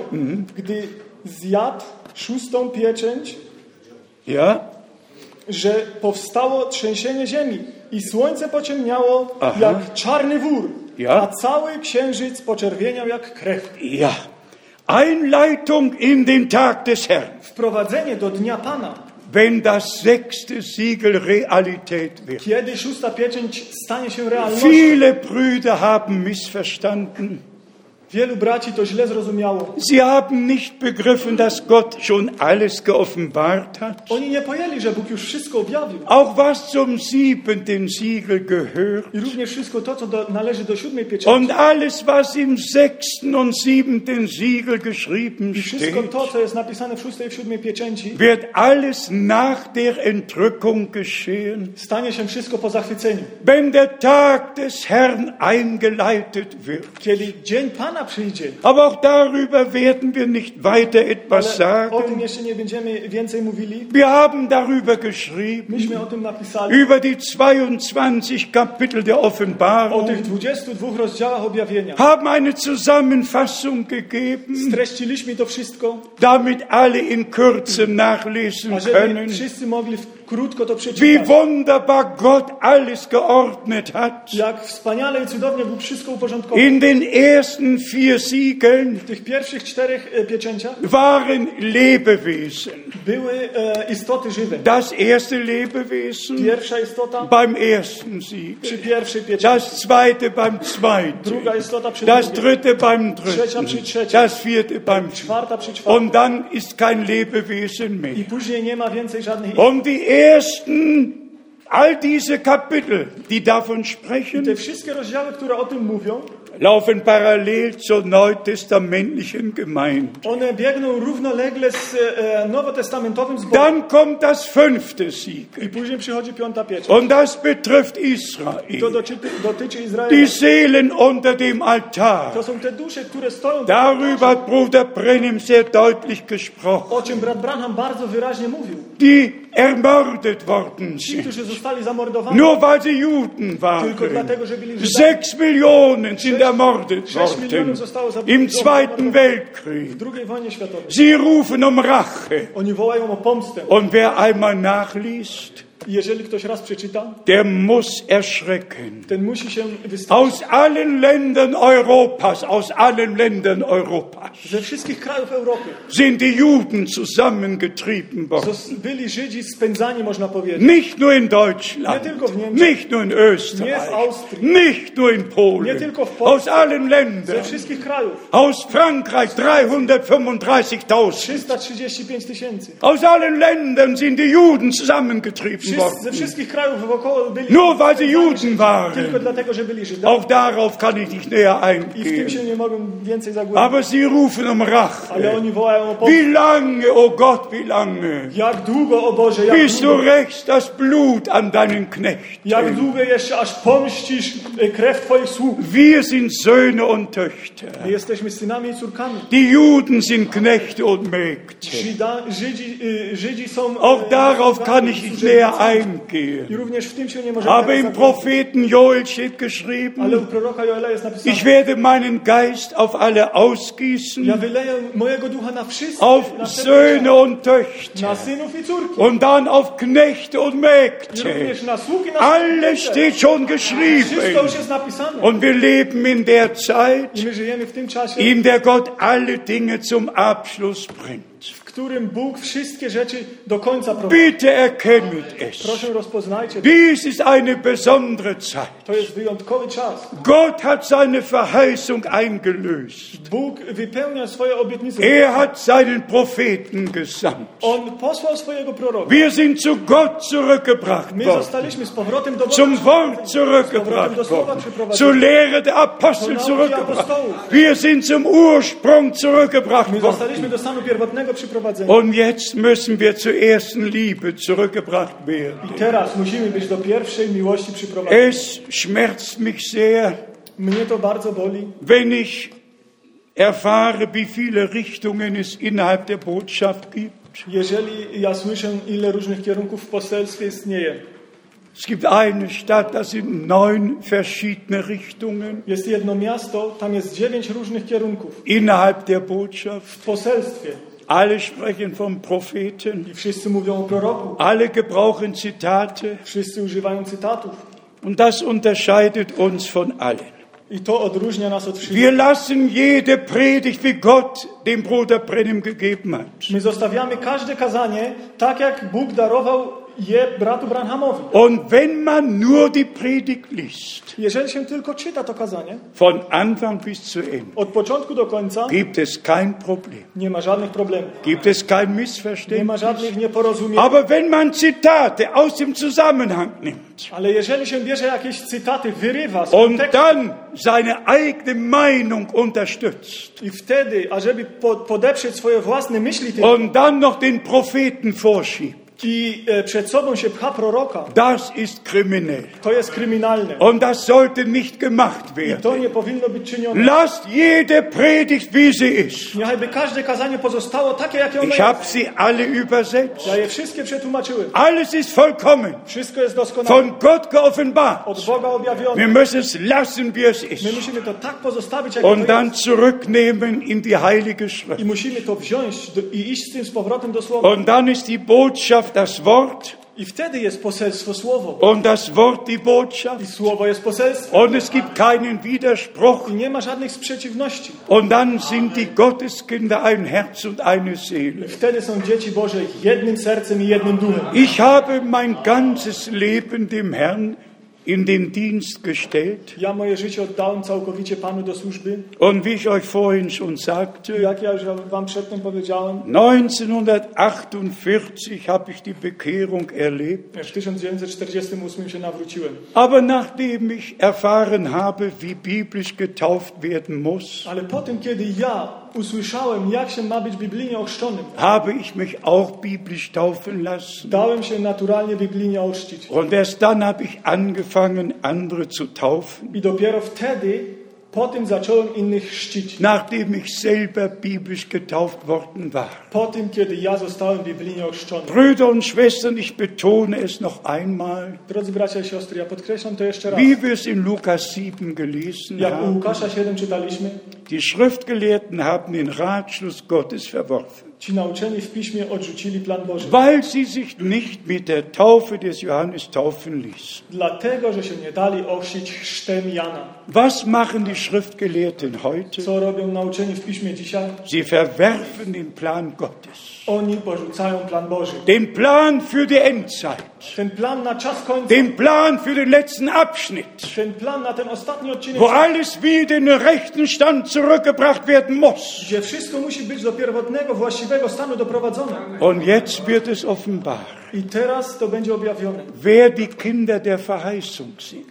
gdy zjadł szóstą pieczęć, Ja, że powstało trzęsienie ziemi i słońce pociemniało Aha. jak czarny wór, Ja? a cały księżyc poczerwieniał jak krew. ja. Einleitung in den Tag des Herrn, Wprowadzenie do Dnia Pana, wenn das sechste Siegel Realität wird. kiedy szósta pieczęć stanie się realnością. Viele Brüder haben missverstanden. Wielu braci to źle zrozumiało. Sie haben nicht begriffen, dass Gott schon alles geoffenbart hat. Oni nie pojęli, że Bóg już wszystko objawił. Auch was zum siebenten Siegel gehört I również wszystko to, co do, należy do siódmej pieczęci. und alles, was im sechsten und siebenten Siegel geschrieben I wszystko steht, to, co jest napisane w szóstej i w siódmej pieczęci, wird alles nach der Entrückung geschehen, stanie się wszystko po zachwyceniu. wenn der Tag des Herrn eingeleitet wird. Kiedy dzień Pana Pana przyjdzie. Aber auch darüber werden wir nicht weiter etwas Ale o tym sagen. jeszcze nie będziemy więcej mówili. Wir haben darüber geschrieben, Myśmy o tym napisali. über die 22 Kapitel der O tych Offenbarung, 22 rozdziałach objawienia. haben eine Zusammenfassung gegeben, Streściliśmy to wszystko, damit alle in Kürze nachlesen ażeby können, wszyscy mogli w- krótko to wie przeczytać. wunderbar Gott alles geordnet hat. Jak wspaniale i cudownie Bóg wszystko uporządkował. In den ersten vier Siegeln W tych pierwszych czterech e, pieczęciach waren Lebewesen. były e, istoty żywe. Das erste Lebewesen Pierwsza istota beim ersten Siegel. przy pierwszej pieczęci, Das zweite beim zweiten. druga istota przy Das drugiej, dritte beim trzecia dritten. przy trzeciej, Das vierte beim vierten. czwarta przy czwartej. Und dann ist kein Lebewesen I mehr. później nie ma więcej żadnych istot. Und die ersten, all diese Kapitel, die davon Te sprechen, wszystkie rozdziały, które o tym mówią, laufen parallel zur neutestamentlichen Gemeinde. one biegną równolegle z e, nowotestamentowym zborem. Dann kommt das fünfte Siegel. I później przychodzi piąta pieczęć. Und das betrifft To Israel. dotyczy, dotyczy Die Izraela. Seelen unter dem Altar. To są te dusze, które stoją. Darüber hat Bruder Brennim sehr deutlich gesprochen. O czym brat Branham bardzo wyraźnie mówił. die ermordet worden Ci, sind. którzy zostali zamordowani, Nur weil sie Juden Tylko dlatego, waren. No- że byli Żydami. Sechs Millionen sind ermordet sechs Millionen worden zostało zabitych. im Zweiten w Weltkrieg. II wojnie światowej. Sie rufen um Rache. Oni wołają o pomstę. Und wer einmal nachliest, I Jeżeli ktoś raz przeczyta, der muss erschrecken. ten musi się wystawić. Aus allen Ländern Europas, aus allen Ländern Europas Ze wszystkich krajów Europy sind die Juden zusammengetrieben worden. zos- byli Żydzi spędzani, można powiedzieć. Nicht nur in Nie Deutschland, tylko w Niemczech. nicht nur in Österreich, Nie w Austrii. nicht nur in Nie Polen, tylko w Polsce. aus allen Ze Ländern, wszystkich krajów. aus Frankreich 335.000. 335 tysięcy. Aus allen Ländern sind die Juden zusammengetrieben Wszyscy, ze worden. wszystkich krajów wokoło byli Nur weil sie spędzani Juden Żydzi. tylko waren. dlatego, że byli Żydami. Auch darauf kann ich nicht näher I w tym eingehen. się nie mogą więcej zagłębić. Aber sie rufen um Ale Rache. oni wołają o pomstę. Wie lange, o oh Gott, wie lange, Jak długo, o Boże, jak bis du długo, rächst das Blut an deinen jak Knechten? długo jeszcze aż pomścisz e, krew Twoich sług. Wir sind Söhne und Töchter. My jesteśmy synami i córkami. Die Juden sind Knechte und Mägde. Żyda, Żydzi, y, Żydzi są... Auch e, darauf kann sługami, ich nicht służebnicami. näher I eingehen. również w tym się nie może... Aber im Propheten Joel steht Ale u geschrieben, proroka Joela jest napisane, ich werde meinen Geist auf alle ja ausgießen, wyleję mojego ducha na wszystkich, na, auf Söhne wszystkich, und Töchter na synów i córki, und dann auf Knechte und I Mägde. również na sługi, na Alles sługi. steht schon Wszystko geschrieben. już jest napisane. Und wir leben in der I Zeit, my żyjemy w tym czasie, in der Gott alle Dinge zum Abschluss bringt. w którym Bóg wszystkie rzeczy do końca prowadzi. Bitte erkennet es. Proszę, rozpoznajcie, Dies ist eine besondere Zeit. to jest wyjątkowy czas. Gott hat seine Verheißung eingelöst. Bóg wypełnia swoje obietnice. Er hat seinen Propheten gesandt. On posłał swojego proroka. Wir sind zu Gott zurückgebracht My worden, zostaliśmy z powrotem do Boga. zum Wort zurückgebracht worden, zur Lehre der Apostel zurückgebracht. Wir sind zum Ursprung My zurückgebracht worden. zostaliśmy do stanu pierwotnego przyprowadzenia. Und jetzt müssen wir zur ersten Liebe zurückgebracht werden. I teraz musimy być do pierwszej miłości przyprowadzeni. Es schmerzt mich sehr, Mnie to bardzo boli, wenn ich erfahre, wie viele Richtungen es innerhalb der Botschaft gibt. jeżeli ja słyszę, ile różnych kierunków w poselstwie istnieje. Es gibt eine Stadt, da sind neun verschiedene Richtungen Jest jedno miasto, tam jest dziewięć różnych kierunków innerhalb der Botschaft. w poselstwie. Alle sprechen vom Propheten, I wszyscy mówią o proroku. alle gebrauchen Zitate Wszyscy używają cytatów. und das unterscheidet uns von allen. I to odróżnia nas od wszystkich. Wir lassen jede Predigt, wie Gott dem Bruder Brennim gegeben hat. My zostawiamy każde kazanie tak, jak Bóg darował je bratu Branhamowi. Und wenn man nur die Predigt liest, Jeżeli się tylko czyta to kazanie, von Anfang bis zu Ende, od początku do końca gibt es kein Problem, nie ma żadnych problemów. gibt es kein Nie Missverständnis. ma żadnych nieporozumień. Aber wenn man Zitate aus dem Zusammenhang nimmt Ale jeżeli się bierze jakieś cytaty, wyrywa z und kontekstu dann seine eigene Meinung unterstützt i wtedy, ażeby po, podeprzeć swoje własne myśli tym, und dann noch den Propheten vorschiebt, i e, przed sobą się pcha proroka, Das ist kriminell. to jest kryminalne. Und das sollte nicht gemacht I to werden. nie powinno być czynione. Lasst jede Predigt, wie sie ist. Niechajby każde kazanie pozostało takie, jakie ono Ich jest. habe sie alle übersetzt. Ja je wszystkie przetłumaczyłem. Alles ist vollkommen, Wszystko jest doskonałe. von Gott geoffenbart. Od Boga Wir objawione. müssen es lassen, wie es My ist. musimy to tak pozostawić, jak Und ono dann jest. zurücknehmen in die Heilige Schrift. I musimy to wziąć do, i iść z tym z powrotem do Słowa. Und dann ist die Botschaft das Wort I wtedy jest poselstwo Słowo. und das Wort die Botschaft. I Słowo jest poselstwo. Und es gibt keinen Widerspruch. I nie ma żadnych sprzeciwności. Und dann sind die Gotteskinder ein Herz und eine Seele. Wtedy są dzieci Boże jednym sercem i jednym duchem. Ich habe mein ganzes Leben dem Herrn in den Dienst gestellt. Ja moje życie oddałem całkowicie Panu do służby. Und wie ich euch vorhin schon sagte, Jak ja już Wam przedtem powiedziałem, 1948 habe ich die Bekehrung erlebt. w 1948 się nawróciłem. Aber nachdem ich erfahren habe, wie biblisch getauft werden muss, Ale po tym, kiedy ja usłyszałem, jak się ma być biblijnie ochrzczonym, habe ich mich auch biblisch taufen lassen. dałem się naturalnie biblijnie ochrzcić. Und erst dann habe ich angefangen, andere zu taufen, I dopiero wtedy, po tym zacząłem innych chrzcić. nachdem ich selber biblisch getauft worden war. Po tym, kiedy ja zostałem biblijnie ochrzczony. Brüder und Schwestern, ich betone es noch einmal, Drodzy bracia i siostry, ja podkreślam to jeszcze raz. wie wir es in Lukas 7 gelesen Jak u haben. Łukasza 7 czytaliśmy, Die Schriftgelehrten haben den Ratschluss Gottes verworfen, ci nauczeni w piśmie odrzucili plan Boży. weil sie sich nicht mit der Taufe des Johannes taufen ließen. Dlatego, że się nie dali ochrzcić chrztem Jana. Was machen die Schriftgelehrten heute? Co robią nauczeni w piśmie dzisiaj? Sie verwerfen den Plan Gottes. Oni porzucają plan Boży. Den Plan für die Endzeit. Ten plan na czas końca, Den Plan für den letzten Abschnitt. ten plan na ten ostatni odcinek, Wo alles wieder in den rechten Stand zurückgebracht werden muss. gdzie wszystko musi być do pierwotnego, właściwego stanu doprowadzone. Und jetzt wird es offenbar, I teraz to będzie objawione. wer die Kinder der Verheißung sind,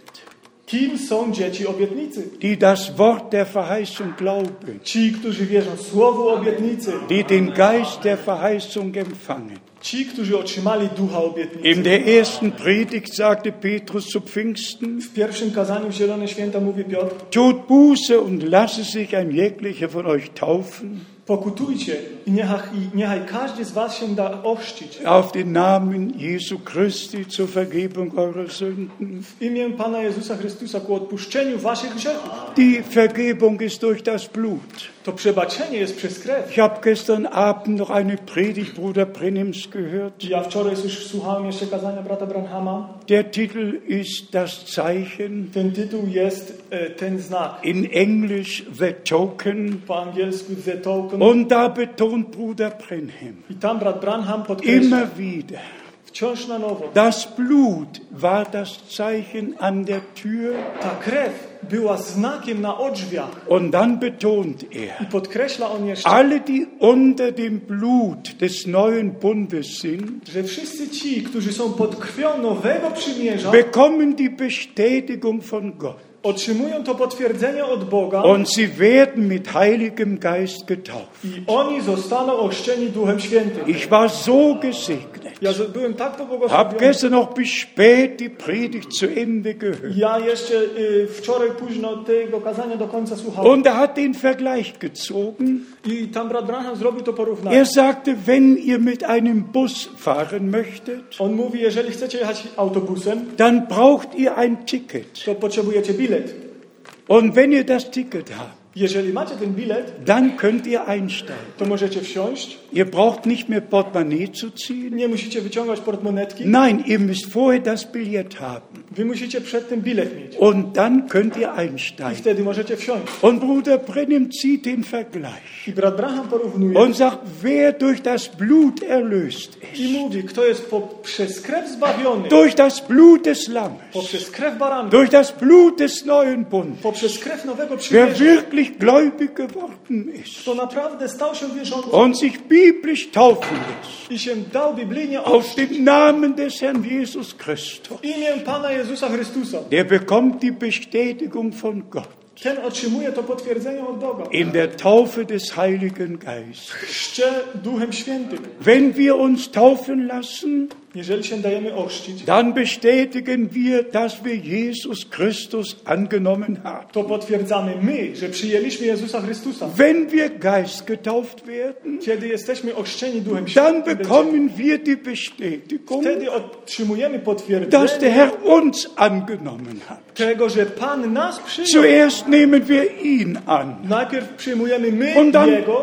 Kim są dzieci obietnicy? die das Wort der Verheißung glauben, Ci, którzy wierzą Słowu obietnicy. die den Geist der Verheißung empfangen. Ci, którzy otrzymali ducha obietnicy. In der ersten Predigt sagte Petrus zu Pfingsten, W pierwszym kazaniu w Zielone Święta mówi Piotr, Tut Buße und lasse sich ein jeglicher von euch taufen pokutujcie i niechaj, i niechaj każdy z was się da ochrzcić. auf den Namen Jesu Christi zur Vergebung eurer Sünden. W imię Pana Jezusa Chrystusa ku odpuszczeniu waszych grzechów. Die Vergebung ist durch das Blut. To przebaczenie jest przez krew. Ich habe gestern Abend noch eine Predigt Bruder Brenims gehört. Ja wczoraj już słuchałem jeszcze kazania brata Branhama. Der Titel ist Das Zeichen, Ten tytuł jest e, Ten znak. in Englisch The Token. Po angielsku The Token. Und da betont Bruder Brenham I tam brat Branham podkreśla immer wieder, wciąż na nowo. das Blut war das Zeichen an der Tür Ta krew była znakiem na odrzwiach. Und dann betont er, I podkreśla on jeszcze, alle, die unter dem Blut des neuen Bundes sind, że wszyscy ci, którzy są pod krwią nowego przymierza, bekommen die Bestätigung von Gott. otrzymują to potwierdzenie od Boga Und sie werden mit Heiligem Geist getauft. i oni zostaną ochrzczeni Duchem Świętym. Ich war so gesegnet. Ja z- byłem tak Hab pobłogosławiony. gestern noch bis spät die Predigt zu Ende gehört. Ja jeszcze y, wczoraj późno tego kazania do końca słuchałem. Und er hat den Vergleich gezogen. I tam brat Branham zrobił to porównanie. Er sagte, wenn ihr mit einem Bus fahren möchtet, On mówi, jeżeli chcecie jechać autobusem, dann braucht ihr ein Ticket. to potrzebujecie bilet. Und wenn ihr das Ticket habt, Jeżeli macie ten bilet, Dann könnt ihr einsteigen. to możecie wsiąść. Ihr braucht nicht mehr Portemonnaie zu ziehen. Nie musicie wyciągać portmonetki. Nein, ihr müsst vorher das Billett haben. Wy musicie przed tym bilet mieć. Und dann könnt ihr I einsteigen. wtedy możecie wsiąść. Und Bruder Brennim zieht den Vergleich I brat Branham porównuje und sagt, wer durch das Blut erlöst ist, i mówi, kto jest poprzez krew zbawiony, durch das Blut des Lammes, poprzez krew baranka, durch das Blut des neuen Bundes, poprzez krew nowego wer przymierza, wirklich gläubig geworden ist to naprawdę stał się wierzącym und sich biblisch taufen lässt, i się dał biblijnie auf ochrzcić. den Namen des Herrn Jesus Christus. W imię Pana Jezusa Chrystusa. Der bekommt die Bestätigung von Gott. Gott. Ten otrzymuje to potwierdzenie od Boga. In der Taufe des Heiligen Geistes. Chrzcie Duchem Świętym. Wenn wir uns taufen lassen, Jeżeli się dajemy ochrzcić, dann bestätigen wir, dass wir Jesus Christus angenommen haben. to potwierdzamy my, że przyjęliśmy Jezusa Chrystusa. Wenn wir geistgetauft werden, Kiedy jesteśmy ochrzczeni Duchem dann Świętym, bekommen wir die Bestätigung, wtedy dass otrzymujemy der potwierdzenie Herr uns angenommen hat. tego, że Pan nas przyjął. Zuerst nehmen wir ihn an Najpierw przyjmujemy my und Jego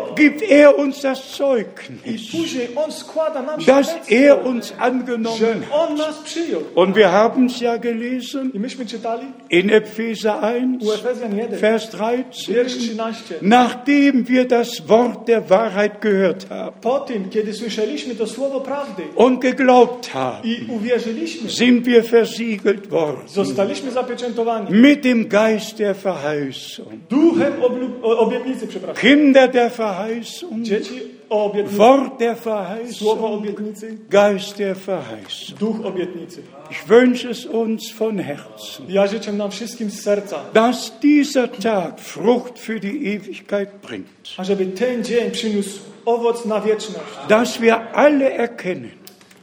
dann gibt er uns das i Zeugnis, później On składa nam dass er świadectwo, uns angenommen że hat. On nas przyjął. Und wir haben es ja gelesen I myśmy czytali in Epheser 1, u Efezjan 1, Vers 13. wiersz 13. Nachdem wir das Wort der Wahrheit gehört haben Po tym, kiedy słyszeliśmy to słowo prawdy und geglaubt haben, i uwierzyliśmy, sind wir versiegelt worden zostaliśmy zapieczętowani mit dem Geist der Verheißung, duchem oblu- o- obietnicy, przepraszam. Kinder der Verheißung, Dzieci o obietnicy, Wort der słowo Verheißung, obietnicy, Geist der Verheißung. duch obietnicy. Ich wünsche es uns von Herzen, Ja życzę nam wszystkim z serca, dass dieser Tag Frucht für die Ewigkeit bringt, ażeby ten dzień przyniósł owoc na wieczność, dass wir alle erkennen,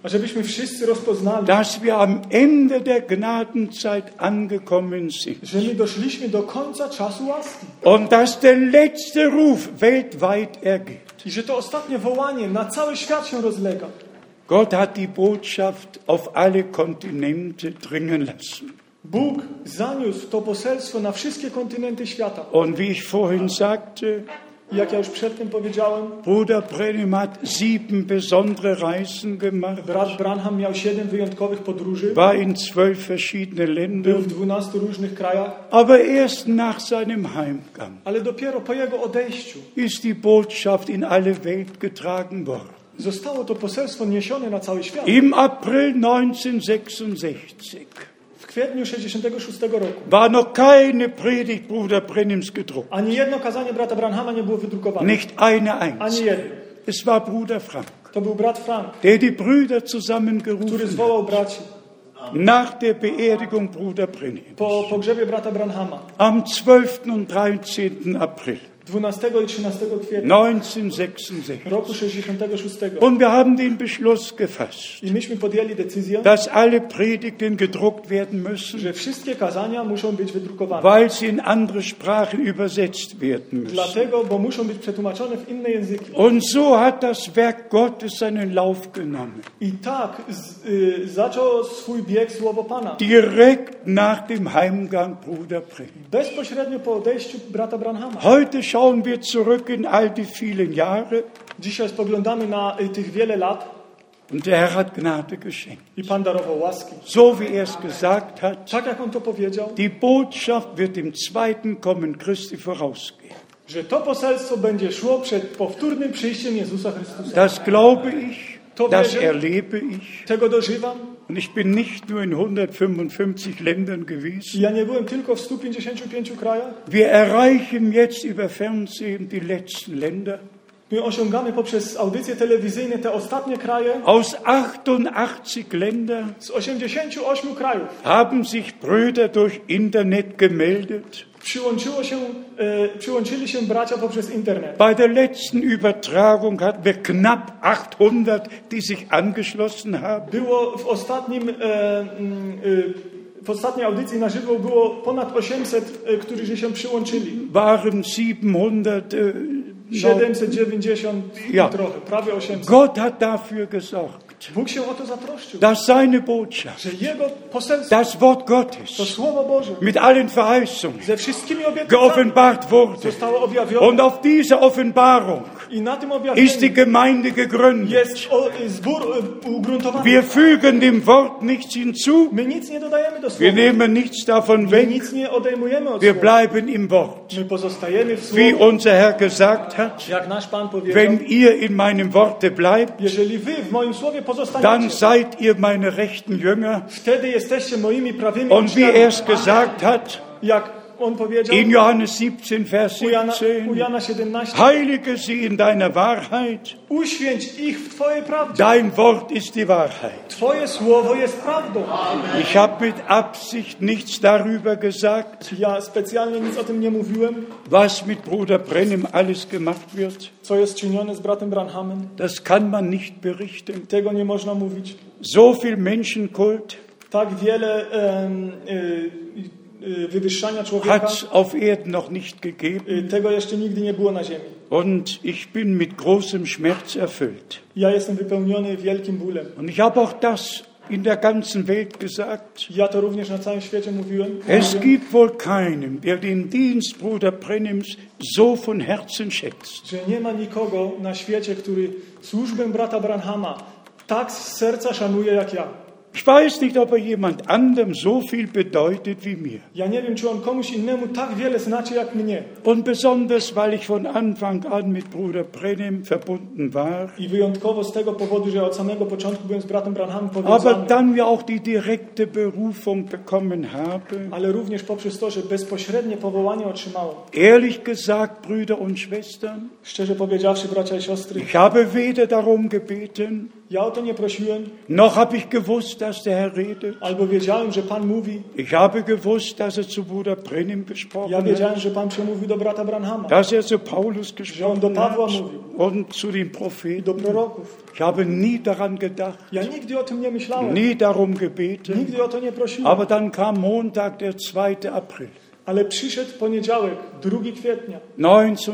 ażebyśmy wszyscy rozpoznali, dass wir am Ende der Gnadenzeit angekommen sind. że my doszliśmy do końca czasu łaski Und dass der letzte Ruf weltweit ergeht. i że to ostatnie wołanie na cały świat się rozlega. Gott hat die Botschaft auf alle Kontinente dringen lassen. Bóg zaniósł to poselstwo na wszystkie kontynenty świata. Und wie ich vorhin sagte, I jak ja już przedtem powiedziałem, Bruder Brennim hat sieben besondere Reisen gemacht, brat Branham miał siedem wyjątkowych podróży, war in zwölf verschiedene był w Länder, 12 różnych krajach, aber erst nach seinem Heimgang ale dopiero po jego odejściu ist die Botschaft in alle Welt getragen worden. zostało to poselstwo niesione na cały świat. Im April 1966 W kwietniu 66 roku war noch keine Predigt Bruder Brennims gedruckt, ani jedno kazanie brata Branhama nie było wydrukowane. nicht eine Ani einzige. jedno. Es war Bruder Frank. To był brat Frank, der die Brüder który zusammengerufen hat, zwołał braci nach der Beerdigung Bruder Brennim po pogrzebie brata Branhama am 12. und 13. April 12 i 13 kwietnia 1966. roku 66. Und wir haben den Beschluss gefasst, I myśmy podjęli decyzję, dass alle Predigten gedruckt werden müssen, że wszystkie kazania muszą być wydrukowane. weil sie in andere Sprachen übersetzt werden müssen. Dlatego, bo muszą być przetłumaczone w inne języki. Und so hat das Werk Gottes seinen Lauf genommen, I tak z, y, zaczął swój bieg słowo Pana. direkt nach dem Heimgang Bruder Brennim. Bezpośrednio po odejściu brata Branhama. Heute schauen wir zurück in all die vielen Jahre Dzisiaj spoglądamy na y, tych wiele lat und der Herr hat Gnade geschenkt. i Pan darował łaski. So wie er es gesagt hat, Tak jak on to powiedział, die Botschaft wird dem zweiten Kommen Christi vorausgehen. że to poselstwo będzie szło przed powtórnym przyjściem Jezusa Chrystusa. Das glaube ich, Tobias- das erlebe ich. Tego dożywam. Und ich bin nicht nur in 155 Ländern gewesen. Ja nie byłem tylko w 155 krajach. Wir erreichen jetzt über Fernsehen die letzten Länder. My osiągamy poprzez audycje telewizyjne te ostatnie kraje. Aus 88 Ländern Z 88 krajów haben sich Brüder durch Internet gemeldet. przyłączyło się, e, przyłączyli się bracia poprzez internet. Bei der letzten Übertragung hatten wir knapp 800, die sich angeschlossen haben. Było w ostatnim, e, mm, e, w ostatniej audycji na żywo było ponad 800, e, którzy się przyłączyli. waren 700. Äh, noch- 790 Ja. i trochę, prawie 800. Gott hat dafür gesorgt, Bóg się o to zatroszczył, dass seine Botschaft, że Jego poselstwo, das Wort to Gottes Słowo Boże, mit allen Verheißungen ze wszystkimi obietnicami geoffenbart wurde. zostało objawione Und auf diese Offenbarung i na tym ist die objawieniu Gemeinde gegründet. jest o, e, zbór e, ugruntowany. Wir fügen dem Wort nichts hinzu, My nic nie dodajemy do wir słowa. nehmen nichts davon My weg, nic nie odejmujemy od wir słowa. bleiben im Wort. My pozostajemy w Wie słowie. unser Herr gesagt hat, Jak nasz Pan powiedział, wenn ihr in meinem Worte bleibt, jeżeli wy w moim słowie dann pozostaniecie, seid ihr meine rechten Jünger wtedy jesteście moimi prawymi Und wie uczniami. er es gesagt hat, Jak on powiedział In Johannes 17, Vers u Jana, u 17. Jana 17, Heilige sie in deiner Wahrheit. uświęć ich w Twojej prawdzie. Dein Wort ist die Wahrheit. Twoje słowo jest prawdą. Ich habe mit Absicht nichts darüber gesagt, Ja specjalnie nic o tym nie mówiłem, was mit Bruder Brennim alles gemacht wird. co jest czynione z bratem Branhamem. Das kann man nicht berichten. Tego nie można mówić. So viel Menschenkult Tak wiele em, y, y, wywyższania człowieka, hat es auf Erden noch nicht gegeben. y, tego jeszcze nigdy nie było na ziemi. Und ich bin mit großem Schmerz erfüllt. Ja jestem wypełniony wielkim bólem. Und ich habe auch das in der ganzen Welt gesagt. Ja to również na całym świecie mówiłem. Es gibt wohl keinen, der den Dienst Bruder Brennims so von Herzen schätzt. że nie ma nikogo na świecie, który służbę brata Branhama tak z serca szanuje jak ja. Ich weiß nicht, ob er jemand anderem so viel bedeutet wie mir. Ja nie wiem, czy on komuś innemu tak wiele znaczy jak mnie. Und besonders, weil ich von Anfang an mit Bruder Brennim verbunden war, I wyjątkowo z tego powodu, że ja od samego początku byłem z bratem Branhamem aber powiązany. dann wir auch die direkte Berufung bekommen habe. Ale również poprzez to, że bezpośrednie powołanie otrzymałem. Ehrlich gesagt, Brüder und Schwestern, Szczerze powiedziawszy, bracia i siostry, ich habe weder darum gebeten, ja o to nie prosiłem, noch habe ich gewusst, dass der Herr redet. albo wiedziałem, że Pan mówi. Ich habe gewusst, dass er zu Bruder Brennim gesprochen Ja hat, wiedziałem, że Pan przemówił do brata Branhama, dass er zu Paulus Ja, und gesprochen der hat Pawła mówił. und zu den do Propheten. proroków. Ich habe nie daran gedacht, Ja nigdy o tym nie myślałem, nie darum gebeten. nigdy o to nie prosiłem. Aber dann kam Montag, der 2. April Ale przyszedł poniedziałek, 2 kwietnia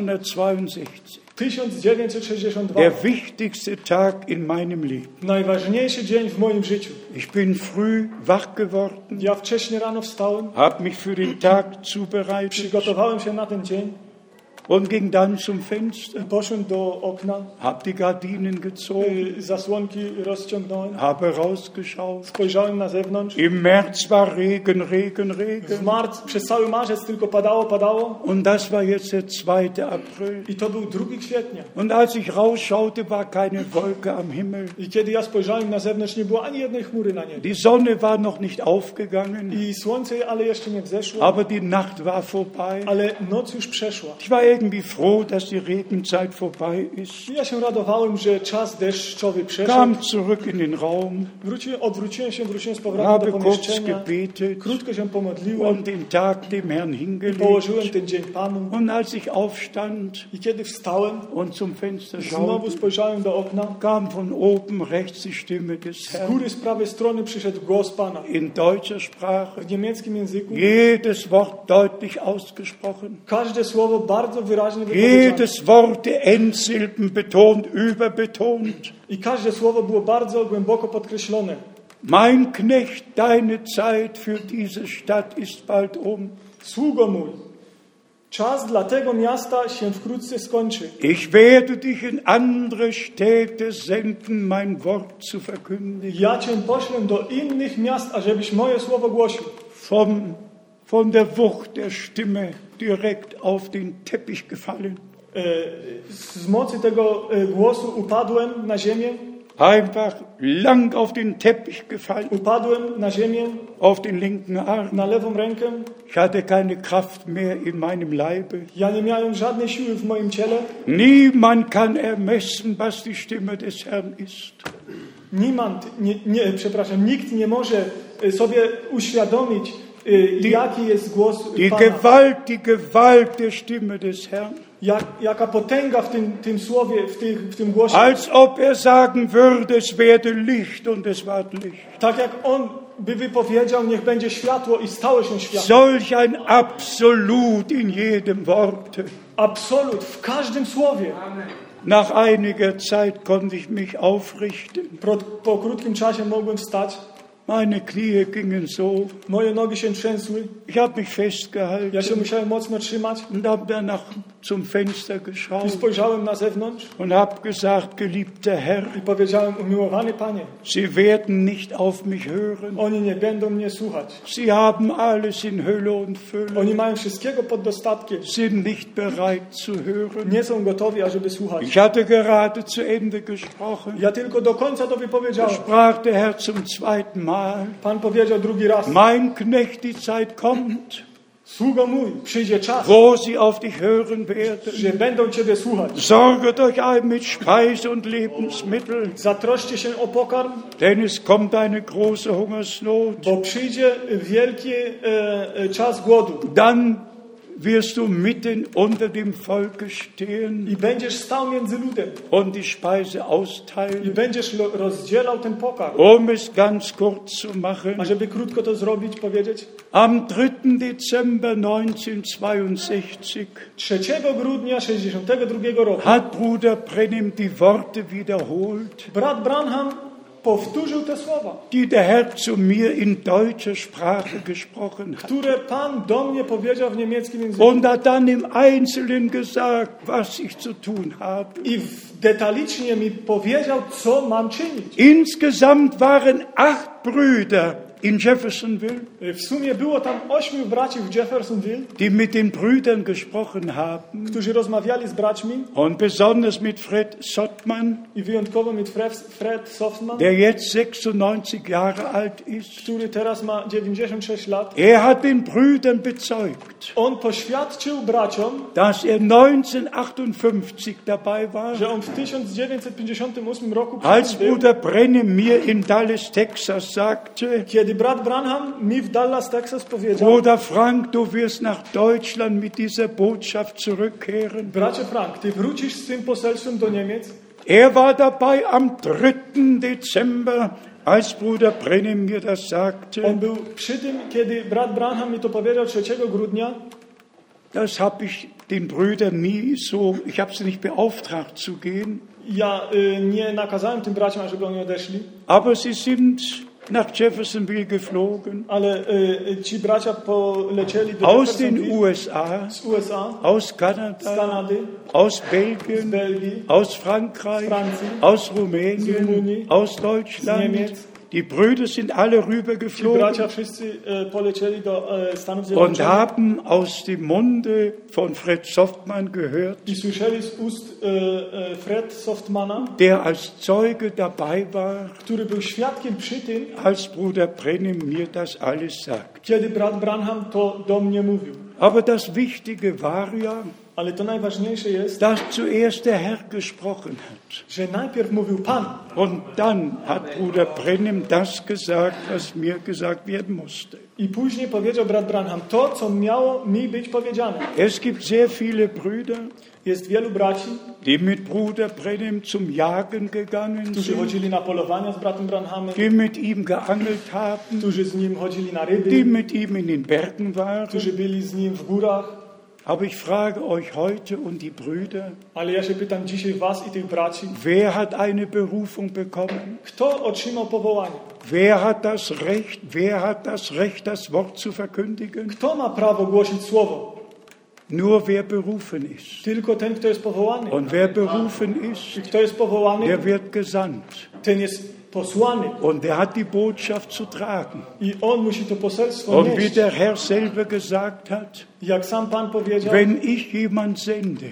1962, 1962, der wichtigste Tag in meinem Leben. najważniejszy dzień w moim życiu. Ich bin früh wach geworden, Ja wcześnie rano wstałem, habe mich für den Tag zubereitet przygotowałem się na ten dzień und ging dann zum i Fenster, poszedłem do okna, habe die Gardinen gezogen, y, zasłonki rozciągnąłem, habe rausgeschaut. spojrzałem na zewnątrz. Im März war Regen, Regen, W Regen. marc, przez cały marzec tylko padało, padało Und das war jetzt der 2. April. i to był 2 kwietnia. Und als ich rausschaute, war keine Wolke am Himmel. I kiedy ja spojrzałem na zewnątrz, nie było ani jednej chmury na niebie. Die Sonne war noch nicht aufgegangen. I słońce, ale jeszcze nie wzeszło, Aber die Nacht war vorbei. ale noc już przeszła. Ich war irgendwie froh, dass die Regenzeit vorbei ist. I Ja się radowałem, że czas deszczowy przeszedł. Kam zurück in den Raum, Wróciłem, odwróciłem się, wróciłem z powrotem habe do kurz pomieszczenia. gebetet Krótko się pomodliłem, und den Tag dem Herrn hingelegt. położyłem ten dzień Panu Und als ich aufstand i kiedy wstałem, und zum Fenster znowu schaute, spojrzałem do okna. kam von oben rechts die Stimme des Z Herrn góry z prawej strony przyszedł głos Pana. in deutscher Sprache, W niemieckim języku jedes Wort deutlich ausgesprochen, każde słowo bardzo wyraźnie wypowiedziane. jedes Wort der Endsilben betont, überbetont. I każde słowo było bardzo głęboko podkreślone. Mein Knecht, deine Zeit für diese Stadt ist bald um. Sługo mój, czas dla tego miasta się wkrótce skończy. Ich werde dich in andere Städte senden, mein Wort zu verkündigen. Ja cię poślę do innych miast, ażebyś moje słowo głosił. Vom, von der Wucht der Stimme direkt auf den Teppich gefallen. E, Z mocy tego e, głosu upadłem na ziemię, Einfach lang auf den Teppich gefallen, upadłem na ziemię, auf den linken Arm. na lewą rękę. Ich hatte keine Kraft mehr in meinem Leibe. Ja nie miałem żadnej siły w moim ciele. Niemand kann ermessen, was die Stimme des Herrn ist. Niemand, nie, nie, przepraszam, nikt nie może e, sobie uświadomić, e, jaki jest głos Die Pana. Gewalt, die Gewalt der Stimme des Herrn. Jak, jaka potęga w tym, tym słowie, w, tych, w tym głosie. Als ob er sagen würde, es werde Licht und es ward Licht. Tak jak On by wypowiedział, niech będzie światło i stało się światło. Solch ein Absolut in jedem Worte. Absolut, w każdym słowie. Nach einiger Zeit konnte ich mich aufrichten. Pro, po krótkim czasie mogłem wstać. Meine Knie gingen so. Moje nogi się trzęsły. Ich habe mich Ja się festgehalten Also, musiałem mocno trzymać. und habe danach zum Fenster I geschaut spojrzałem na zewnątrz und habe gesagt, geliebter Herr, i powiedziałem, umiłowany Panie, Sie werden nicht auf mich hören. oni nie będą mnie słuchać. Sie haben alles in Hülle und Fülle, Oni mają wszystkiego pod dostatkiem. sind nicht bereit zu hören. Nie są gotowi, ażeby słuchać. Ich hatte gerade zu Ende gesprochen. Ja tylko do końca Da to wypowiedziałem. sprach der Herr zum zweiten Mal, Pan powiedział drugi raz. mein Knecht, die Zeit kommt, Sługo mój, przyjdzie czas, wo sie auf dich hören werden. że będą Ciebie słuchać. Sorget euch ein mit Speise und Lebensmitteln, Zatroszcie się o pokarm, denn es kommt eine große Hungersnot. bo przyjdzie wielki e, e, czas głodu Dann wirst du mitten unter dem Volke i stehen będziesz stał między ludem und die Speise i austeilen. będziesz lo- rozdzielał ten pokarm. Um es ganz kurz zu A machen, żeby krótko to zrobić, powiedzieć, am 3. Dezember 1962 3 grudnia 62 roku hat Bruder Brenim die Worte wiederholt, brat Branham powtórzył te słowa, die der Herr zu mir in deutscher Sprache gesprochen hat. które Pan do mnie powiedział w niemieckim języku Und hat dann im Einzelnen gesagt, was ich zu tun habe. i w- detalicznie mi powiedział, co mam czynić. Insgesamt waren acht Brüder in Jeffersonville, W sumie było tam ośmiu braci w Jeffersonville, die mit den Brüdern gesprochen haben. którzy rozmawiali z braćmi Und besonders mit Fred Sottmann, i wyjątkowo mit Fred, Fred Softman, der jetzt 96 Jahre alt ist. który teraz ma 96 lat. Er hat den Brüdern bezeugt, On poświadczył braciom, dass er 1958 dabei war, że on w 1958 roku als był, Bruder Brennem mir in Dallas, Texas sagte, kiedy brat Branham mi w Dallas, Texas powiedział, Bruder Frank, du wirst nach Deutschland mit dieser Botschaft zurückkehren. bracie Frank, ty wrócisz z tym poselstwem do Niemiec. Er war dabei am 3. Dezember, als Bruder Brennim mir das On sagte. był przy tym, kiedy brat Branham mi to powiedział 3 grudnia. Das habe ich den Brüdern nie so, ich habe sie nicht beauftragt zu gehen, Ja y, nie nakazałem tym braciom, żeby oni odeszli, aber sie sind nach Jeffersonville geflogen, ale y, y, ci bracia polecieli do aus den Jeffersonville, USA, z USA, aus z Kanada, Kanady, aus z Belgien, Belgii, aus Frankreich, Franzi- aus Aus Rumänien, Rumänien, aus Deutschland. Niemiec. Die Brüder sind alle Ci bracia rübergeflogen wszyscy e, polecieli do e, Stanów und Zjednoczonych haben aus dem Munde von Fred Softmann gehört, i słyszeli z ust e, e, Fred Softmana, der als Zeuge dabei war, który był świadkiem przy tym, als Bruder Brennim mir das alles sagt. kiedy brat Branham to do mnie mówił. Aber das Wichtige war ja, Ale to najważniejsze jest, dass zuerst der Herr gesprochen hat. że najpierw mówił Pan, Und dann hat Bruder Brennim das gesagt, was mir gesagt werden musste. I później powiedział brat Branham to, co miało mi być powiedziane. Es gibt sehr viele Brüder, Jest wielu braci, die mit Bruder Brennim zum Jagen gegangen którzy sind, chodzili na polowania z bratem Branhamem, die mit ihm geangelt haben, którzy z nim chodzili na die ryby, mit ihm in den Bergen waren. którzy byli z nim w górach. Aber ich frage euch heute und die Brüder, Ale ja się pytam dzisiaj was i tych braci, wer hat eine Berufung bekommen? kto otrzymał powołanie? Wer hat das Recht, wer hat das Recht, das Wort zu verkündigen? Kto ma prawo głosić słowo? Nur wer berufen ist. Tylko ten, kto jest powołany. Und wer berufen I ist, kto jest powołany, der wird gesandt. ten jest posłany. Und der hat die Botschaft zu tragen. I on musi to poselstwo Und wie nieść. der Herr selber gesagt hat, Jak sam Pan powiedział, wenn ich jemand sende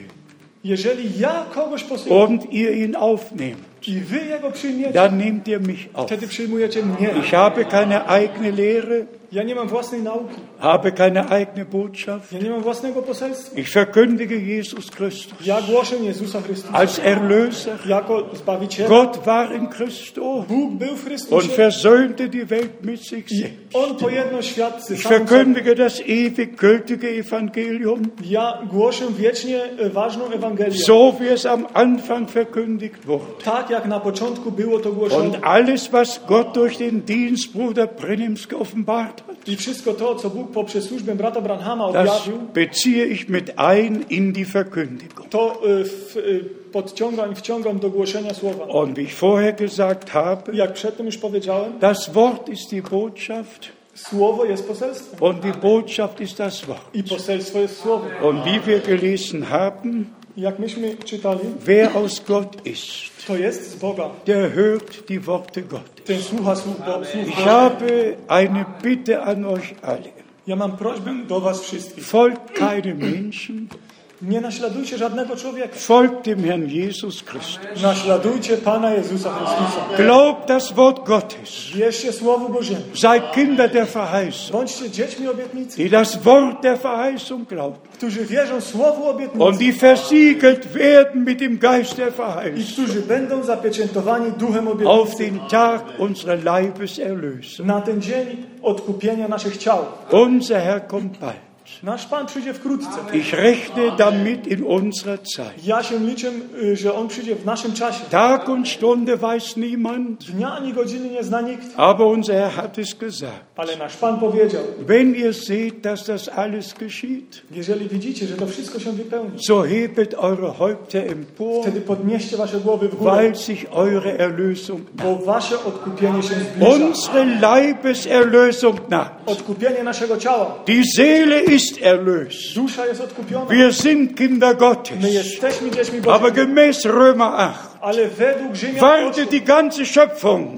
jeżeli ja kogoś posyłam und ihr ihn aufnehmt, i wy jego przyjmiecie, dann nehmt ihr mich auf. wtedy przyjmujecie mnie. Ich habe keine eigene Lehre, Ja nie mam własnej nauki. habe keine eigene Botschaft. Ja nie mam własnego poselstwa. Ich verkündige Jesus Christus Ja głoszę Jezusa Chrystusa als Erlöser. jako Zbawiciela. Gott war in Christo Bóg był w und Chrystusie versöhnte die Welt mit sich i selbst. On pojednał świat z Ich samym sobą. verkündige das ewig gültige Evangelium, Ja głoszę wiecznie e, ważną Ewangelię. so wie es am Anfang verkündigt wurde. Tak jak na początku było to głoszone. Und alles, was Gott durch den Dienst Bruder Brennims geoffenbart hat, I wszystko to, co Bóg poprzez służbę brata Branhama das objawił, beziehe ich mit ein in die Verkündigung. to e, w, e, podciągam i wciągam do głoszenia słowa. Und wie ich vorher gesagt habe, Jak przedtem już powiedziałem, das Wort ist die Botschaft słowo jest poselstwem. und die Botschaft ist das Wort. I poselstwo jest słowem. Und wie wir gelesen haben, Jak myśmy czytali, wer aus Gott ist, to jest z Boga. der hört die Worte Gottes. Ten słucha słów, bo, słów Ich Bożych. habe eine Bitte an euch alle. Ja mam prośbę do was wszystkich. Folgt keinem Menschen, Nie naśladujcie żadnego człowieka. Folgt dem Herrn Jesus Christus. Naśladujcie Pana Jezusa Chrystusa. Glaubt das Wort Gottes. Wierzcie Słowu Bożemu. Seid Kinder der Verheißung, Bądźcie dziećmi obietnicy, die das Wort der Verheißung glauben. którzy wierzą Słowu und obietnicy die versiegelt werden mit dem Geist der i Verheißung którzy będą zapieczętowani Duchem auf obietnicy den Tag unserer Leibeserlösung. na ten dzień odkupienia naszych ciał. Unser Herr kommt bald. Nasz Pan przyjdzie wkrótce. Ich rechne damit in unserer Zeit. Ja się liczę, y, że On przyjdzie w naszym czasie. Tag und Stunde weiß niemand, Dnia ani godziny nie zna nikt, aber unser Herr hat es gesagt. ale nasz Pan powiedział, Wenn ihr seht, dass das alles geschieht, jeżeli widzicie, że to wszystko się wypełni, so hebet eure Häupter empor, wtedy podnieście wasze głowy w górę, weil sich eure Erlösung, bo wasze odkupienie się zbliża. unsere Leibeserlösung naht. Odkupienie naszego ciała. Die Seele ist erlöst. Dusza jest odkupiona. Wir sind Kinder My Gottes. jesteśmy dziećmi Aber Bożymi, gemäß Römer 8 ale według Rzymian wartet die ganze Schöpfung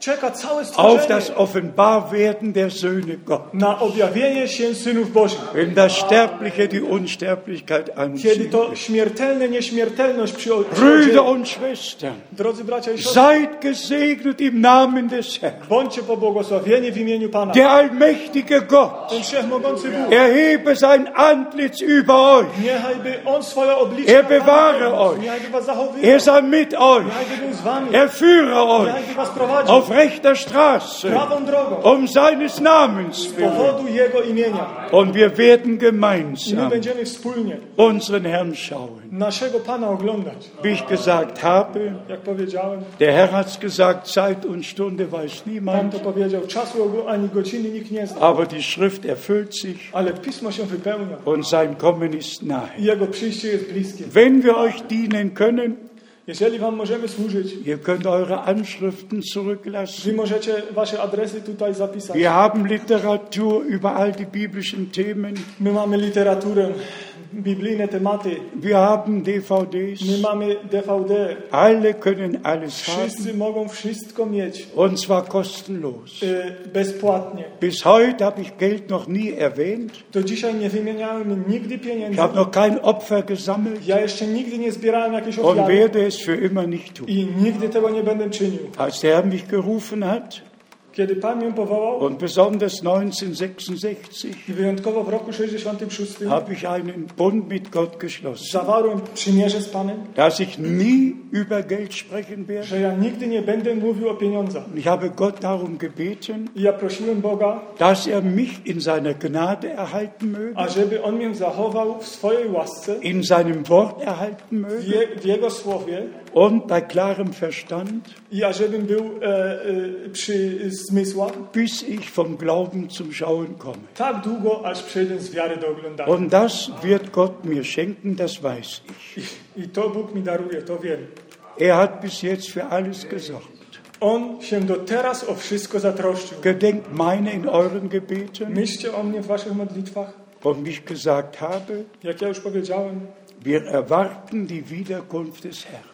czeka całe auf stworzenie das Offenbarwerden der Söhne Gottes. na objawienie się synów Bożych. Wenn das Sterbliche die Unsterblichkeit Kiedy anzieht. to śmiertelne nieśmiertelność przyo- Brüder przyjdzie, und Schwestern, drodzy bracia i siostry, seid gesegnet im Namen des Herrn. bądźcie pobłogosławieni w imieniu Pana. Der allmächtige Gott Ten wszechmogący Bóg, erhebe sein Antlitz über euch. niechaj by On swoje oblicze Er bewahre naprawił, euch. niechaj by was zachowywał, Er sei mit euch. niechaj by był z wami, Er führe niechaj euch by was prowadził auf rechter Straße prawą drogą um seines Namens z willen. powodu Jego imienia. Und wir werden I my gemeinsam będziemy wspólnie unseren Herrn schauen. naszego Pana oglądać. Wie ich gesagt habe, Jak powiedziałem, der Herr hat es gesagt, Zeit und Stunde weiß Pan to niemand, powiedział, czasu ogó- ani godziny nikt nie zna, aber die Schrift erfüllt sich ale Pismo się wypełnia und sein Kommen ist i nahe. Jego przyjście jest bliskie. Wenn wir euch dienen können, Jeżeli Wam możemy służyć, ihr könnt eure Anschriften zurücklassen. Wy możecie Wasze adresy tutaj zapisać. Wir haben Literatur über all die biblischen Themen. My mamy literaturę, biblijne tematy, Wir haben my DVDs. mamy DVD. Alle können alles haben Wszyscy mogą wszystko mieć und zwar kostenlos. y, bezpłatnie. Bis heute habe ich Geld noch nie erwähnt. Do dzisiaj nie wymieniałem nigdy Ich pieniędzy. habe noch kein Opfer gesammelt Ja jeszcze nigdy nie zbierałem jakiejś und ofiary werde es für immer nicht tun. i nigdy tego nie będę czynił. Als der Herr mich gerufen hat Kiedy Pan mnie powołał und besonders 1966 i wyjątkowo w roku 66 habe ich einen Bund mit Gott geschlossen, zawarłem przymierze z Panem, dass ich nie über Geld sprechen werde. że ja nigdy nie będę mówił o pieniądzach. Und Ich habe Gott darum gebeten, I ja prosiłem Boga, dass er mich in seiner Gnade erhalten möge, ażeby On mnie zachował w swojej łasce, in seinem Wort erhalten w, möge je, w Jego słowie und bei klarem Verstand, i ażebym był e, e, przy zmysłach bis ich vom Glauben zum Schauen komme. tak długo, aż przejdę z wiary do oglądania. Und das wird Gott mir schenken, das weiß ich. I to Bóg mi daruje, to wiem. Er hat bis jetzt für alles gesorgt. On się do teraz o wszystko zatroszczył. Gedenkt meine in euren Gebeten, Myślcie o mnie w waszych modlitwach. und wie ich gesagt habe, Jak ja już powiedziałem, wir erwarten die Wiederkunft des Herrn.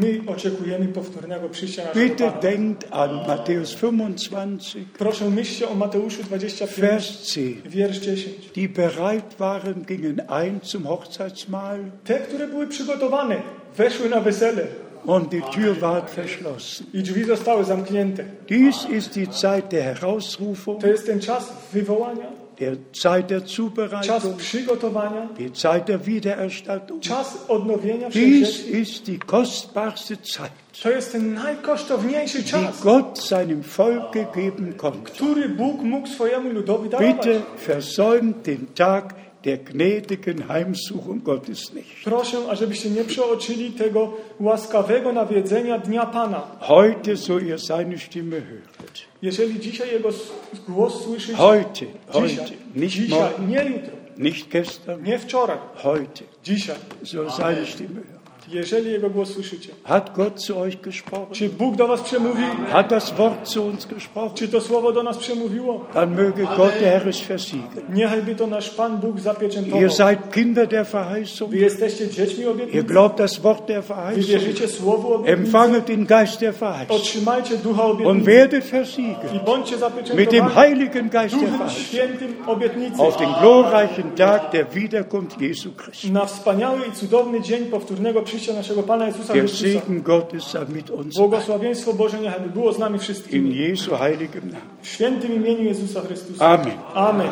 my oczekujemy powtórnego przyjścia naszego Bitte Pana. denkt an Matthäus 25, Proszę, myślcie o Mateuszu 25, Vers 10. wiersz 10. Die bereit waren, gingen ein zum Hochzeitsmahl Te, które były przygotowane, weszły na wesele und die Tür ward verschlossen. i drzwi zostały zamknięte. Dies ist die Zeit der To Herausrufung, jest ten czas wywołania, der Zeit der czas Zubereitung, przygotowania, die Zeit der Wiedererstattung. czas odnowienia Dies wszelkiego. ist die kostbarste Zeit. To jest ten najkosztowniejszy die czas, Gott seinem Volk gegeben kommt. który Bóg mógł swojemu ludowi darować. Bitte versäumt den Tag der gnädigen Heimsuchung Gottes nicht. Proszę, ażebyście nie przeoczyli tego łaskawego nawiedzenia Dnia Pana. Heute, so ihr seine Stimme höret. Jeżeli dzisiaj Jego s- głos słyszycie, Heute, heute, dzisiaj, nicht dzisiaj, morgen, nie jutro, nicht gestern, nie wczoraj, heute, dzisiaj, so ihr seine Stimme höret. Jeżeli Jego głos słyszycie. Hat Gott zu euch gesprochen? Czy Bóg do was przemówił? Hat das Wort zu uns gesprochen? Czy to słowo do nas przemówiło? Dann möge Gott, der Herr, es versiegeln. Niechaj by to nasz Pan Bóg Ihr zapieczętował. seid Kinder der Wy Verheißung. jesteście dziećmi Ihr obietnicy. glaubt das Wort der Wy Verheißung. wierzycie słowu obietnicy. Empfanget den Geist der Verheißung Otrzymajcie ducha und obietnicy werdet versiegelt i bądźcie mit dem zapieczętowani Heiligen Geist der duchem Verheißung świętym obietnicy. auf den glorreichen Tag der Wiederkunft Jesu Christi. Na wspaniały i cudowny dzień powtórnego przyjścia naszego Pana Jezusa Der Chrystusa. Segen Gottes sei mit uns Błogosławieństwo Boże niechaj by było z nami in wszystkimi. Jesu heiligem Namen. W świętym imieniu Jezusa Chrystusa. Amen. Amen.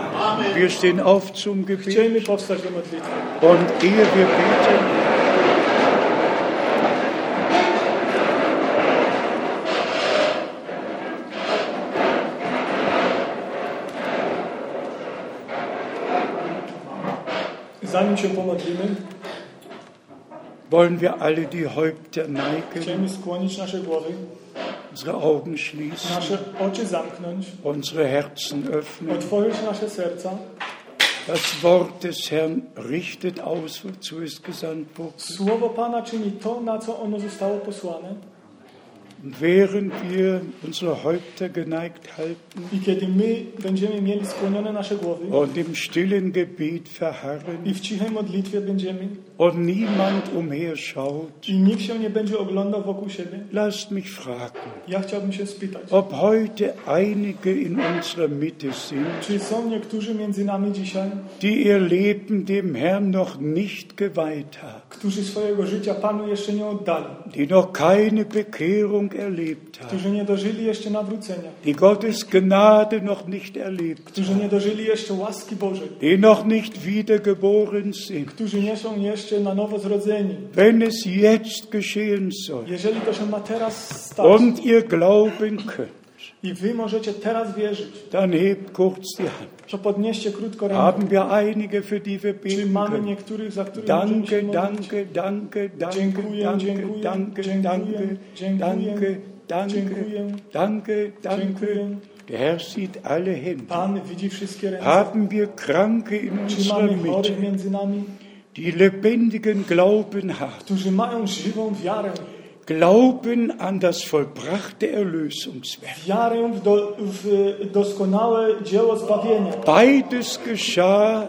Wir stehen auf zum Gebet. Chciejmy powstać do modlitwy. Und ehe wir beten, Zanim się pomodlimy, wollen wir alle die Häupter neigen, chciejmy skłonić nasze głowy, unsere Augen schließen, nasze oczy zamknąć, unsere Herzen öffnen. otworzyć nasze serca. Das Wort des Herrn richtet aus, wozu es gesandt wurde. Słowo Pana czyni to, na co ono zostało posłane. Und während wir unsere Häupter geneigt halten I kiedy my będziemy mieli skłonione nasze głowy und im stillen Gebet verharren i w cichej modlitwie będziemy und niemand umherschaut, i nikt się nie będzie oglądał wokół siebie, lasst mich fragen, ja chciałbym się spytać, ob heute einige in unserer Mitte sind, czy są niektórzy między nami dzisiaj, die ihr Leben dem Herrn noch nicht geweiht haben, którzy swojego życia Panu jeszcze nie oddali, die noch keine Bekehrung erlebt haben, którzy nie dożyli jeszcze nawrócenia, die Gottes Gnade noch nicht erlebt którzy haben, nie dożyli jeszcze łaski Bożej, die noch nicht wiedergeboren sind. którzy nie są jeszcze na nowo zrodzeni. Wenn es jetzt geschehen soll Jeżeli to się ma teraz stać und ihr glauben könnt, i wy możecie teraz wierzyć, dann hebt kurz die Hand. to podnieście krótko rękę. Haben wir einige, für die wir Czy beten mamy können? niektórych, za których możemy się Danke, modlić? danke, danke, danke, Dziękuję, danke, dziękuję, danke, danke, dziękuję, danke, dziękuję, danke, dziękuję, danke, danke. dziękuję. Der Herr sieht alle hin. Pan widzi wszystkie ręce. Haben wir Kranke in Czy unserer mamy chorych Mitte, między nami, die lebendigen Glauben haben? którzy mają żywą wiarę? Glauben an das vollbrachte Erlösungswerk. Wiarę w, do, w doskonałe dzieło zbawienia. Beides geschah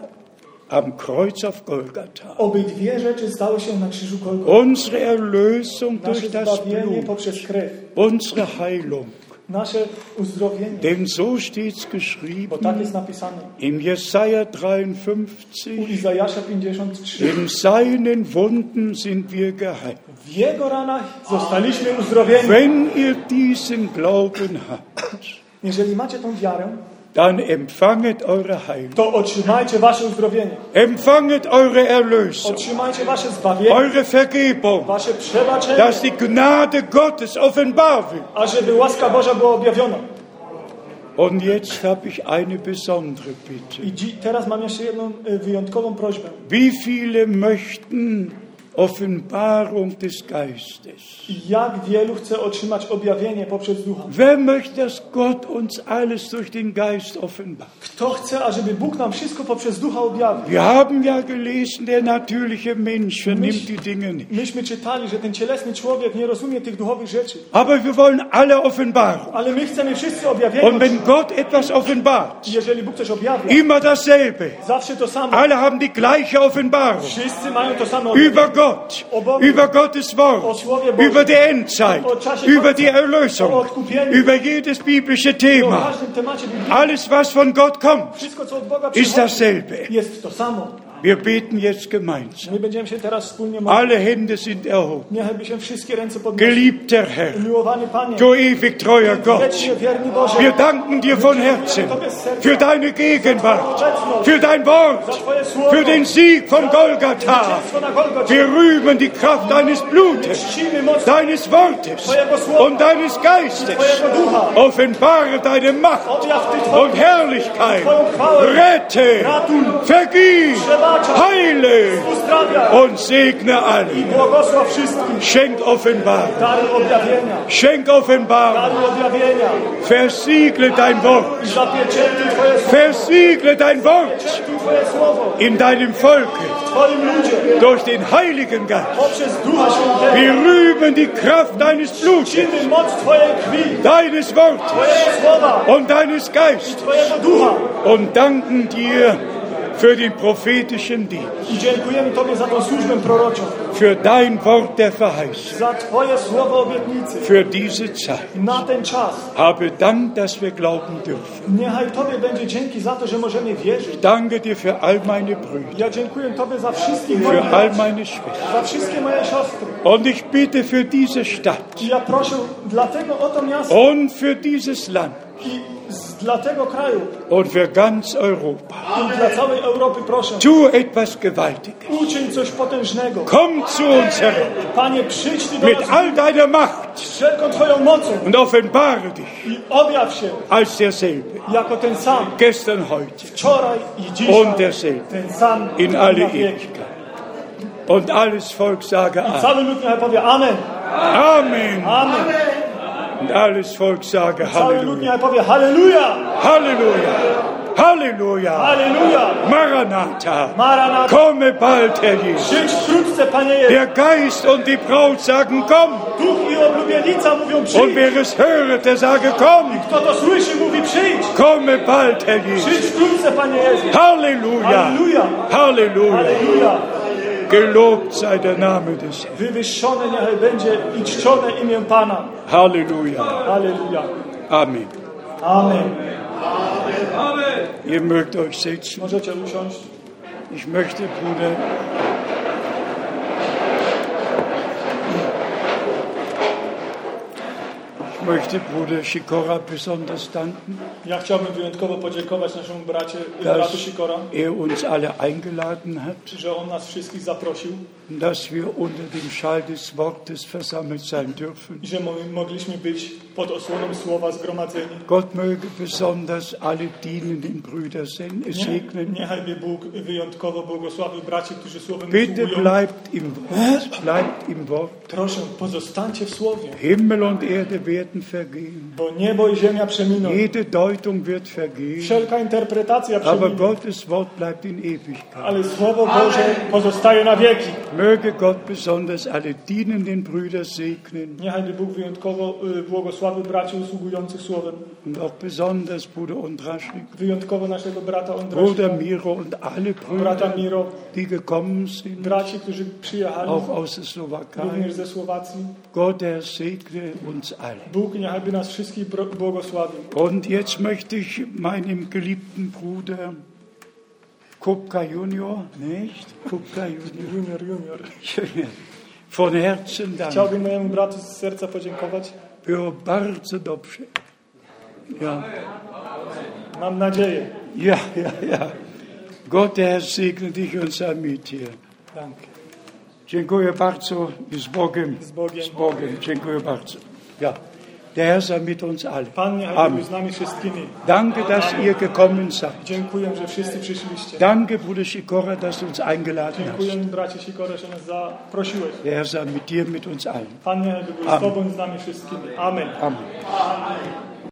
am Kreuz auf Golgatha. Obydwie rzeczy stały się na krzyżu Golgoty. Unsere Erlösung Nasze durch das zbawienie Blut, poprzez krew, unsere Heilung. nasze uzdrowienie, Denn so steht es bo tak geschrieben jest napisane. im Jesaja U 53, Izajasza 53. in seinen Wunden sind wir geheilt. W jego ranach zostaliśmy uzdrowieni. Wenn ihr diesen Glauben habt, Jeżeli macie tą wiarę, dann empfanget eure Heilung, to otrzymajcie wasze uzdrowienie. empfanget eure Erlösung, Otrzymajcie wasze zbawienie, eure Vergebung, wasze przebaczenie, dass die Gnade Gottes offenbar wird. ażeby łaska Boża była objawiona. Und jetzt habe ich eine besondere Bitte. I dzi- teraz mam jeszcze jedną e, wyjątkową prośbę. Wie viele möchten Offenbarung des Geistes? Jak wielu chce otrzymać objawienie poprzez Ducha? Wer möchte, dass Gott uns alles durch den Geist offenbart? Kto chce, ażeby Bóg nam wszystko poprzez Ducha objawił? Wir haben ja gelesen, der natürliche Mensch vernimmt die Dinge nicht. Myśmy czytali, że ten cielesny człowiek nie rozumie tych duchowych rzeczy. Aber wir wollen alle Offenbarung. Ale my chcemy wszyscy objawienia. Und wenn Gott etwas offenbart, Jeżeli Bóg coś objawia, immer dasselbe. zawsze to samo. Alle haben die gleiche Offenbarung. Wszyscy mają to samo objawienie. Über Gott, über Gottes Wort, über die Endzeit, über die Erlösung, über jedes biblische O Thema. każdym temacie biblijnym Alles, was von Gott kommt, wszystko, co od Boga ist przychodzi, dasselbe. jest to samo. Wir beten jetzt gemeinsam. My będziemy się teraz wspólnie modlić. Alle Hände sind erhoben. Niechby się wszystkie ręce podnosiły. Geliebter Herr, Miłowany Panie, du ewig treuer Gott, wiecznie wierny Boże, wir danken dir von Herzen für deine Gegenwart, für dein Wort, für den Sieg von Golgatha. zwycięstwo na Golgocie. Wir rühmen die Kraft deines Blutes, Czcimy moc deines Wortes und deines Geistes. Twojego Ducha. Offenbare deine Macht Objaw Ty Twoją und Herrlichkeit. Rette, vergib, wybacza, Heile uzdrawia und segne i alle. błogosław wszystkim. Schenk Offenbarung, Dar objawienia, schenk Offenbarung. dar objawienia Versiegle dein Wort, i zapieczytuj Twoje słowo, versiegle dein Wort zapieczytuj Twoje słowo in deinem Volke w Twoim ludzie durch den Heiligen Geist. poprzez Ducha Wir Świętego. rühmen die Kraft deines Blutes, Czynimy moc Twojej krwi, deines Wortes Twojego słowa, und deines Geistes Twojego ducha. und danken dir für den prophetischen Dienst, I dziękujemy Tobie za tą służbę proroczą, für dein Wort der Verheißung, za Twoje słowo obietnicy für diese Zeit. na ten czas. Habe Dank, dass wir glauben dürfen. Niechaj Tobie będzie dzięki za to, że możemy wierzyć. Danke dir für all meine Brüder, Ja dziękuję Tobie za wszystkich moich für all braci, meine Schwestern. za wszystkie moje siostry. Und ich bitte für diese Stadt I ja proszę dlatego o to miasto und für dieses Land i z, dla tego kraju und für ganz Europa. i dla całej Europy proszę. Tu etwas Gewaltiges. Uczyń coś potężnego. Komm zu uns heran Panie, przyjdź Ty do mit nas all deiner Macht z wszelką Twoją mocą und offenbare dich i objaw się als derselbe, jako ten sam. gestern, heute Wczoraj i dzisiaj und derselbe ten sam in alle na wieki. Ewigkeit. Und alles Volk sage Amen. Cały lud niechaj powie Amen, Amen. Amen. Und alles Volk sage Cały lud Halleluja. niechaj powie Halleluja, Halleluja. Halleluja. Halleluja. Maranatha. Maranatha. Komme bald, Herr Jesus. Przyjdź wkrótce, Panie Jezu. Der Geist und die Braut sagen, komm. Duch i oblubienica mówią Und przyjdź. wer es höret, der sage, komm. Kto to słyszy, mówi przyjdź. Komme bald, Herr Jesus. Przyjdź wkrótce, Panie Jezu. Halleluja. Halleluja. Halleluja. Halleluja. Gelobt sei der Name des Herrn. Wywyższone niechaj będzie i czczone imię Pana. Halleluja. Halleluja. Amen. Amen. Ihr mögt euch sitzen. Możecie usiąść. Ich möchte, Bruder, ich möchte Bruder Sikora besonders danken, Ja chciałbym wyjątkowo podziękować naszemu bracie, bratu dass Sikora, er uns alle eingeladen hat, że on nas wszystkich zaprosił und dass wir unter dem Schall des Wortes versammelt sein dürfen. i że mo- mogliśmy być pod osłoną słowa zgromadzeni. Gott möge besonders alle dienenden Brüder sen- segnen. Niechaj mnie Bóg wyjątkowo błogosławił braci, którzy słowem Bitte usługują. bleibt im Wort, bleibt im Wort. Proszę, pozostańcie w słowie, Himmel und Erde werden vergehen. bo niebo i ziemia przeminą. Jede Deutung wird vergehen. Wszelka interpretacja Aber przeminie, Gottes Wort bleibt in Ewigkeit. ale Słowo Boże pozostaje na wieki. Möge Gott besonders alle dienenden Brüder segnen Niechaj by Bóg wyjątkowo y, błogosławił braci usługujących Słowem, und auch besonders Bruder Ondraschnik, wyjątkowo naszego brata Ondrasza, Bruder Miro und alle Brüder, brata Miro, die gekommen sind, braci, którzy przyjechali auch aus der również Slowakei. ze Słowacji. Gott, er segne uns alle. Bóg niechaj by nas wszystkich bro- błogosławił. Und jetzt möchte ich meinem geliebten Bruder Kupka Junior, nicht? Kupka Junior, Junior, junior. von Herzen danken. Chciałbym mojemu bratu z serca podziękować. Było bardzo dobrze. Ja. Mam nadzieję. Ja, ja, ja. Gott, der Herr segne dich und sei mit dir. Danke. Dziękuję bardzo i z Bogiem. Z Bogiem. Z Bogiem. Dziękuję bardzo. Ja. Der Herr sei mit uns allen. Pan niechaj był Amen. z nami wszystkimi. Danke, dass ihr gekommen seid. Dziękuję, że wszyscy przyszliście. Danke, Bruder Sikora, dass du uns eingeladen Dziękuję, hast. bracie Sikora, że nas zaprosiłeś. Der Herr sei mit dir, mit uns allen. Pan niechaj by był z Amen. Tobą, z nami wszystkimi. Amen. Amen.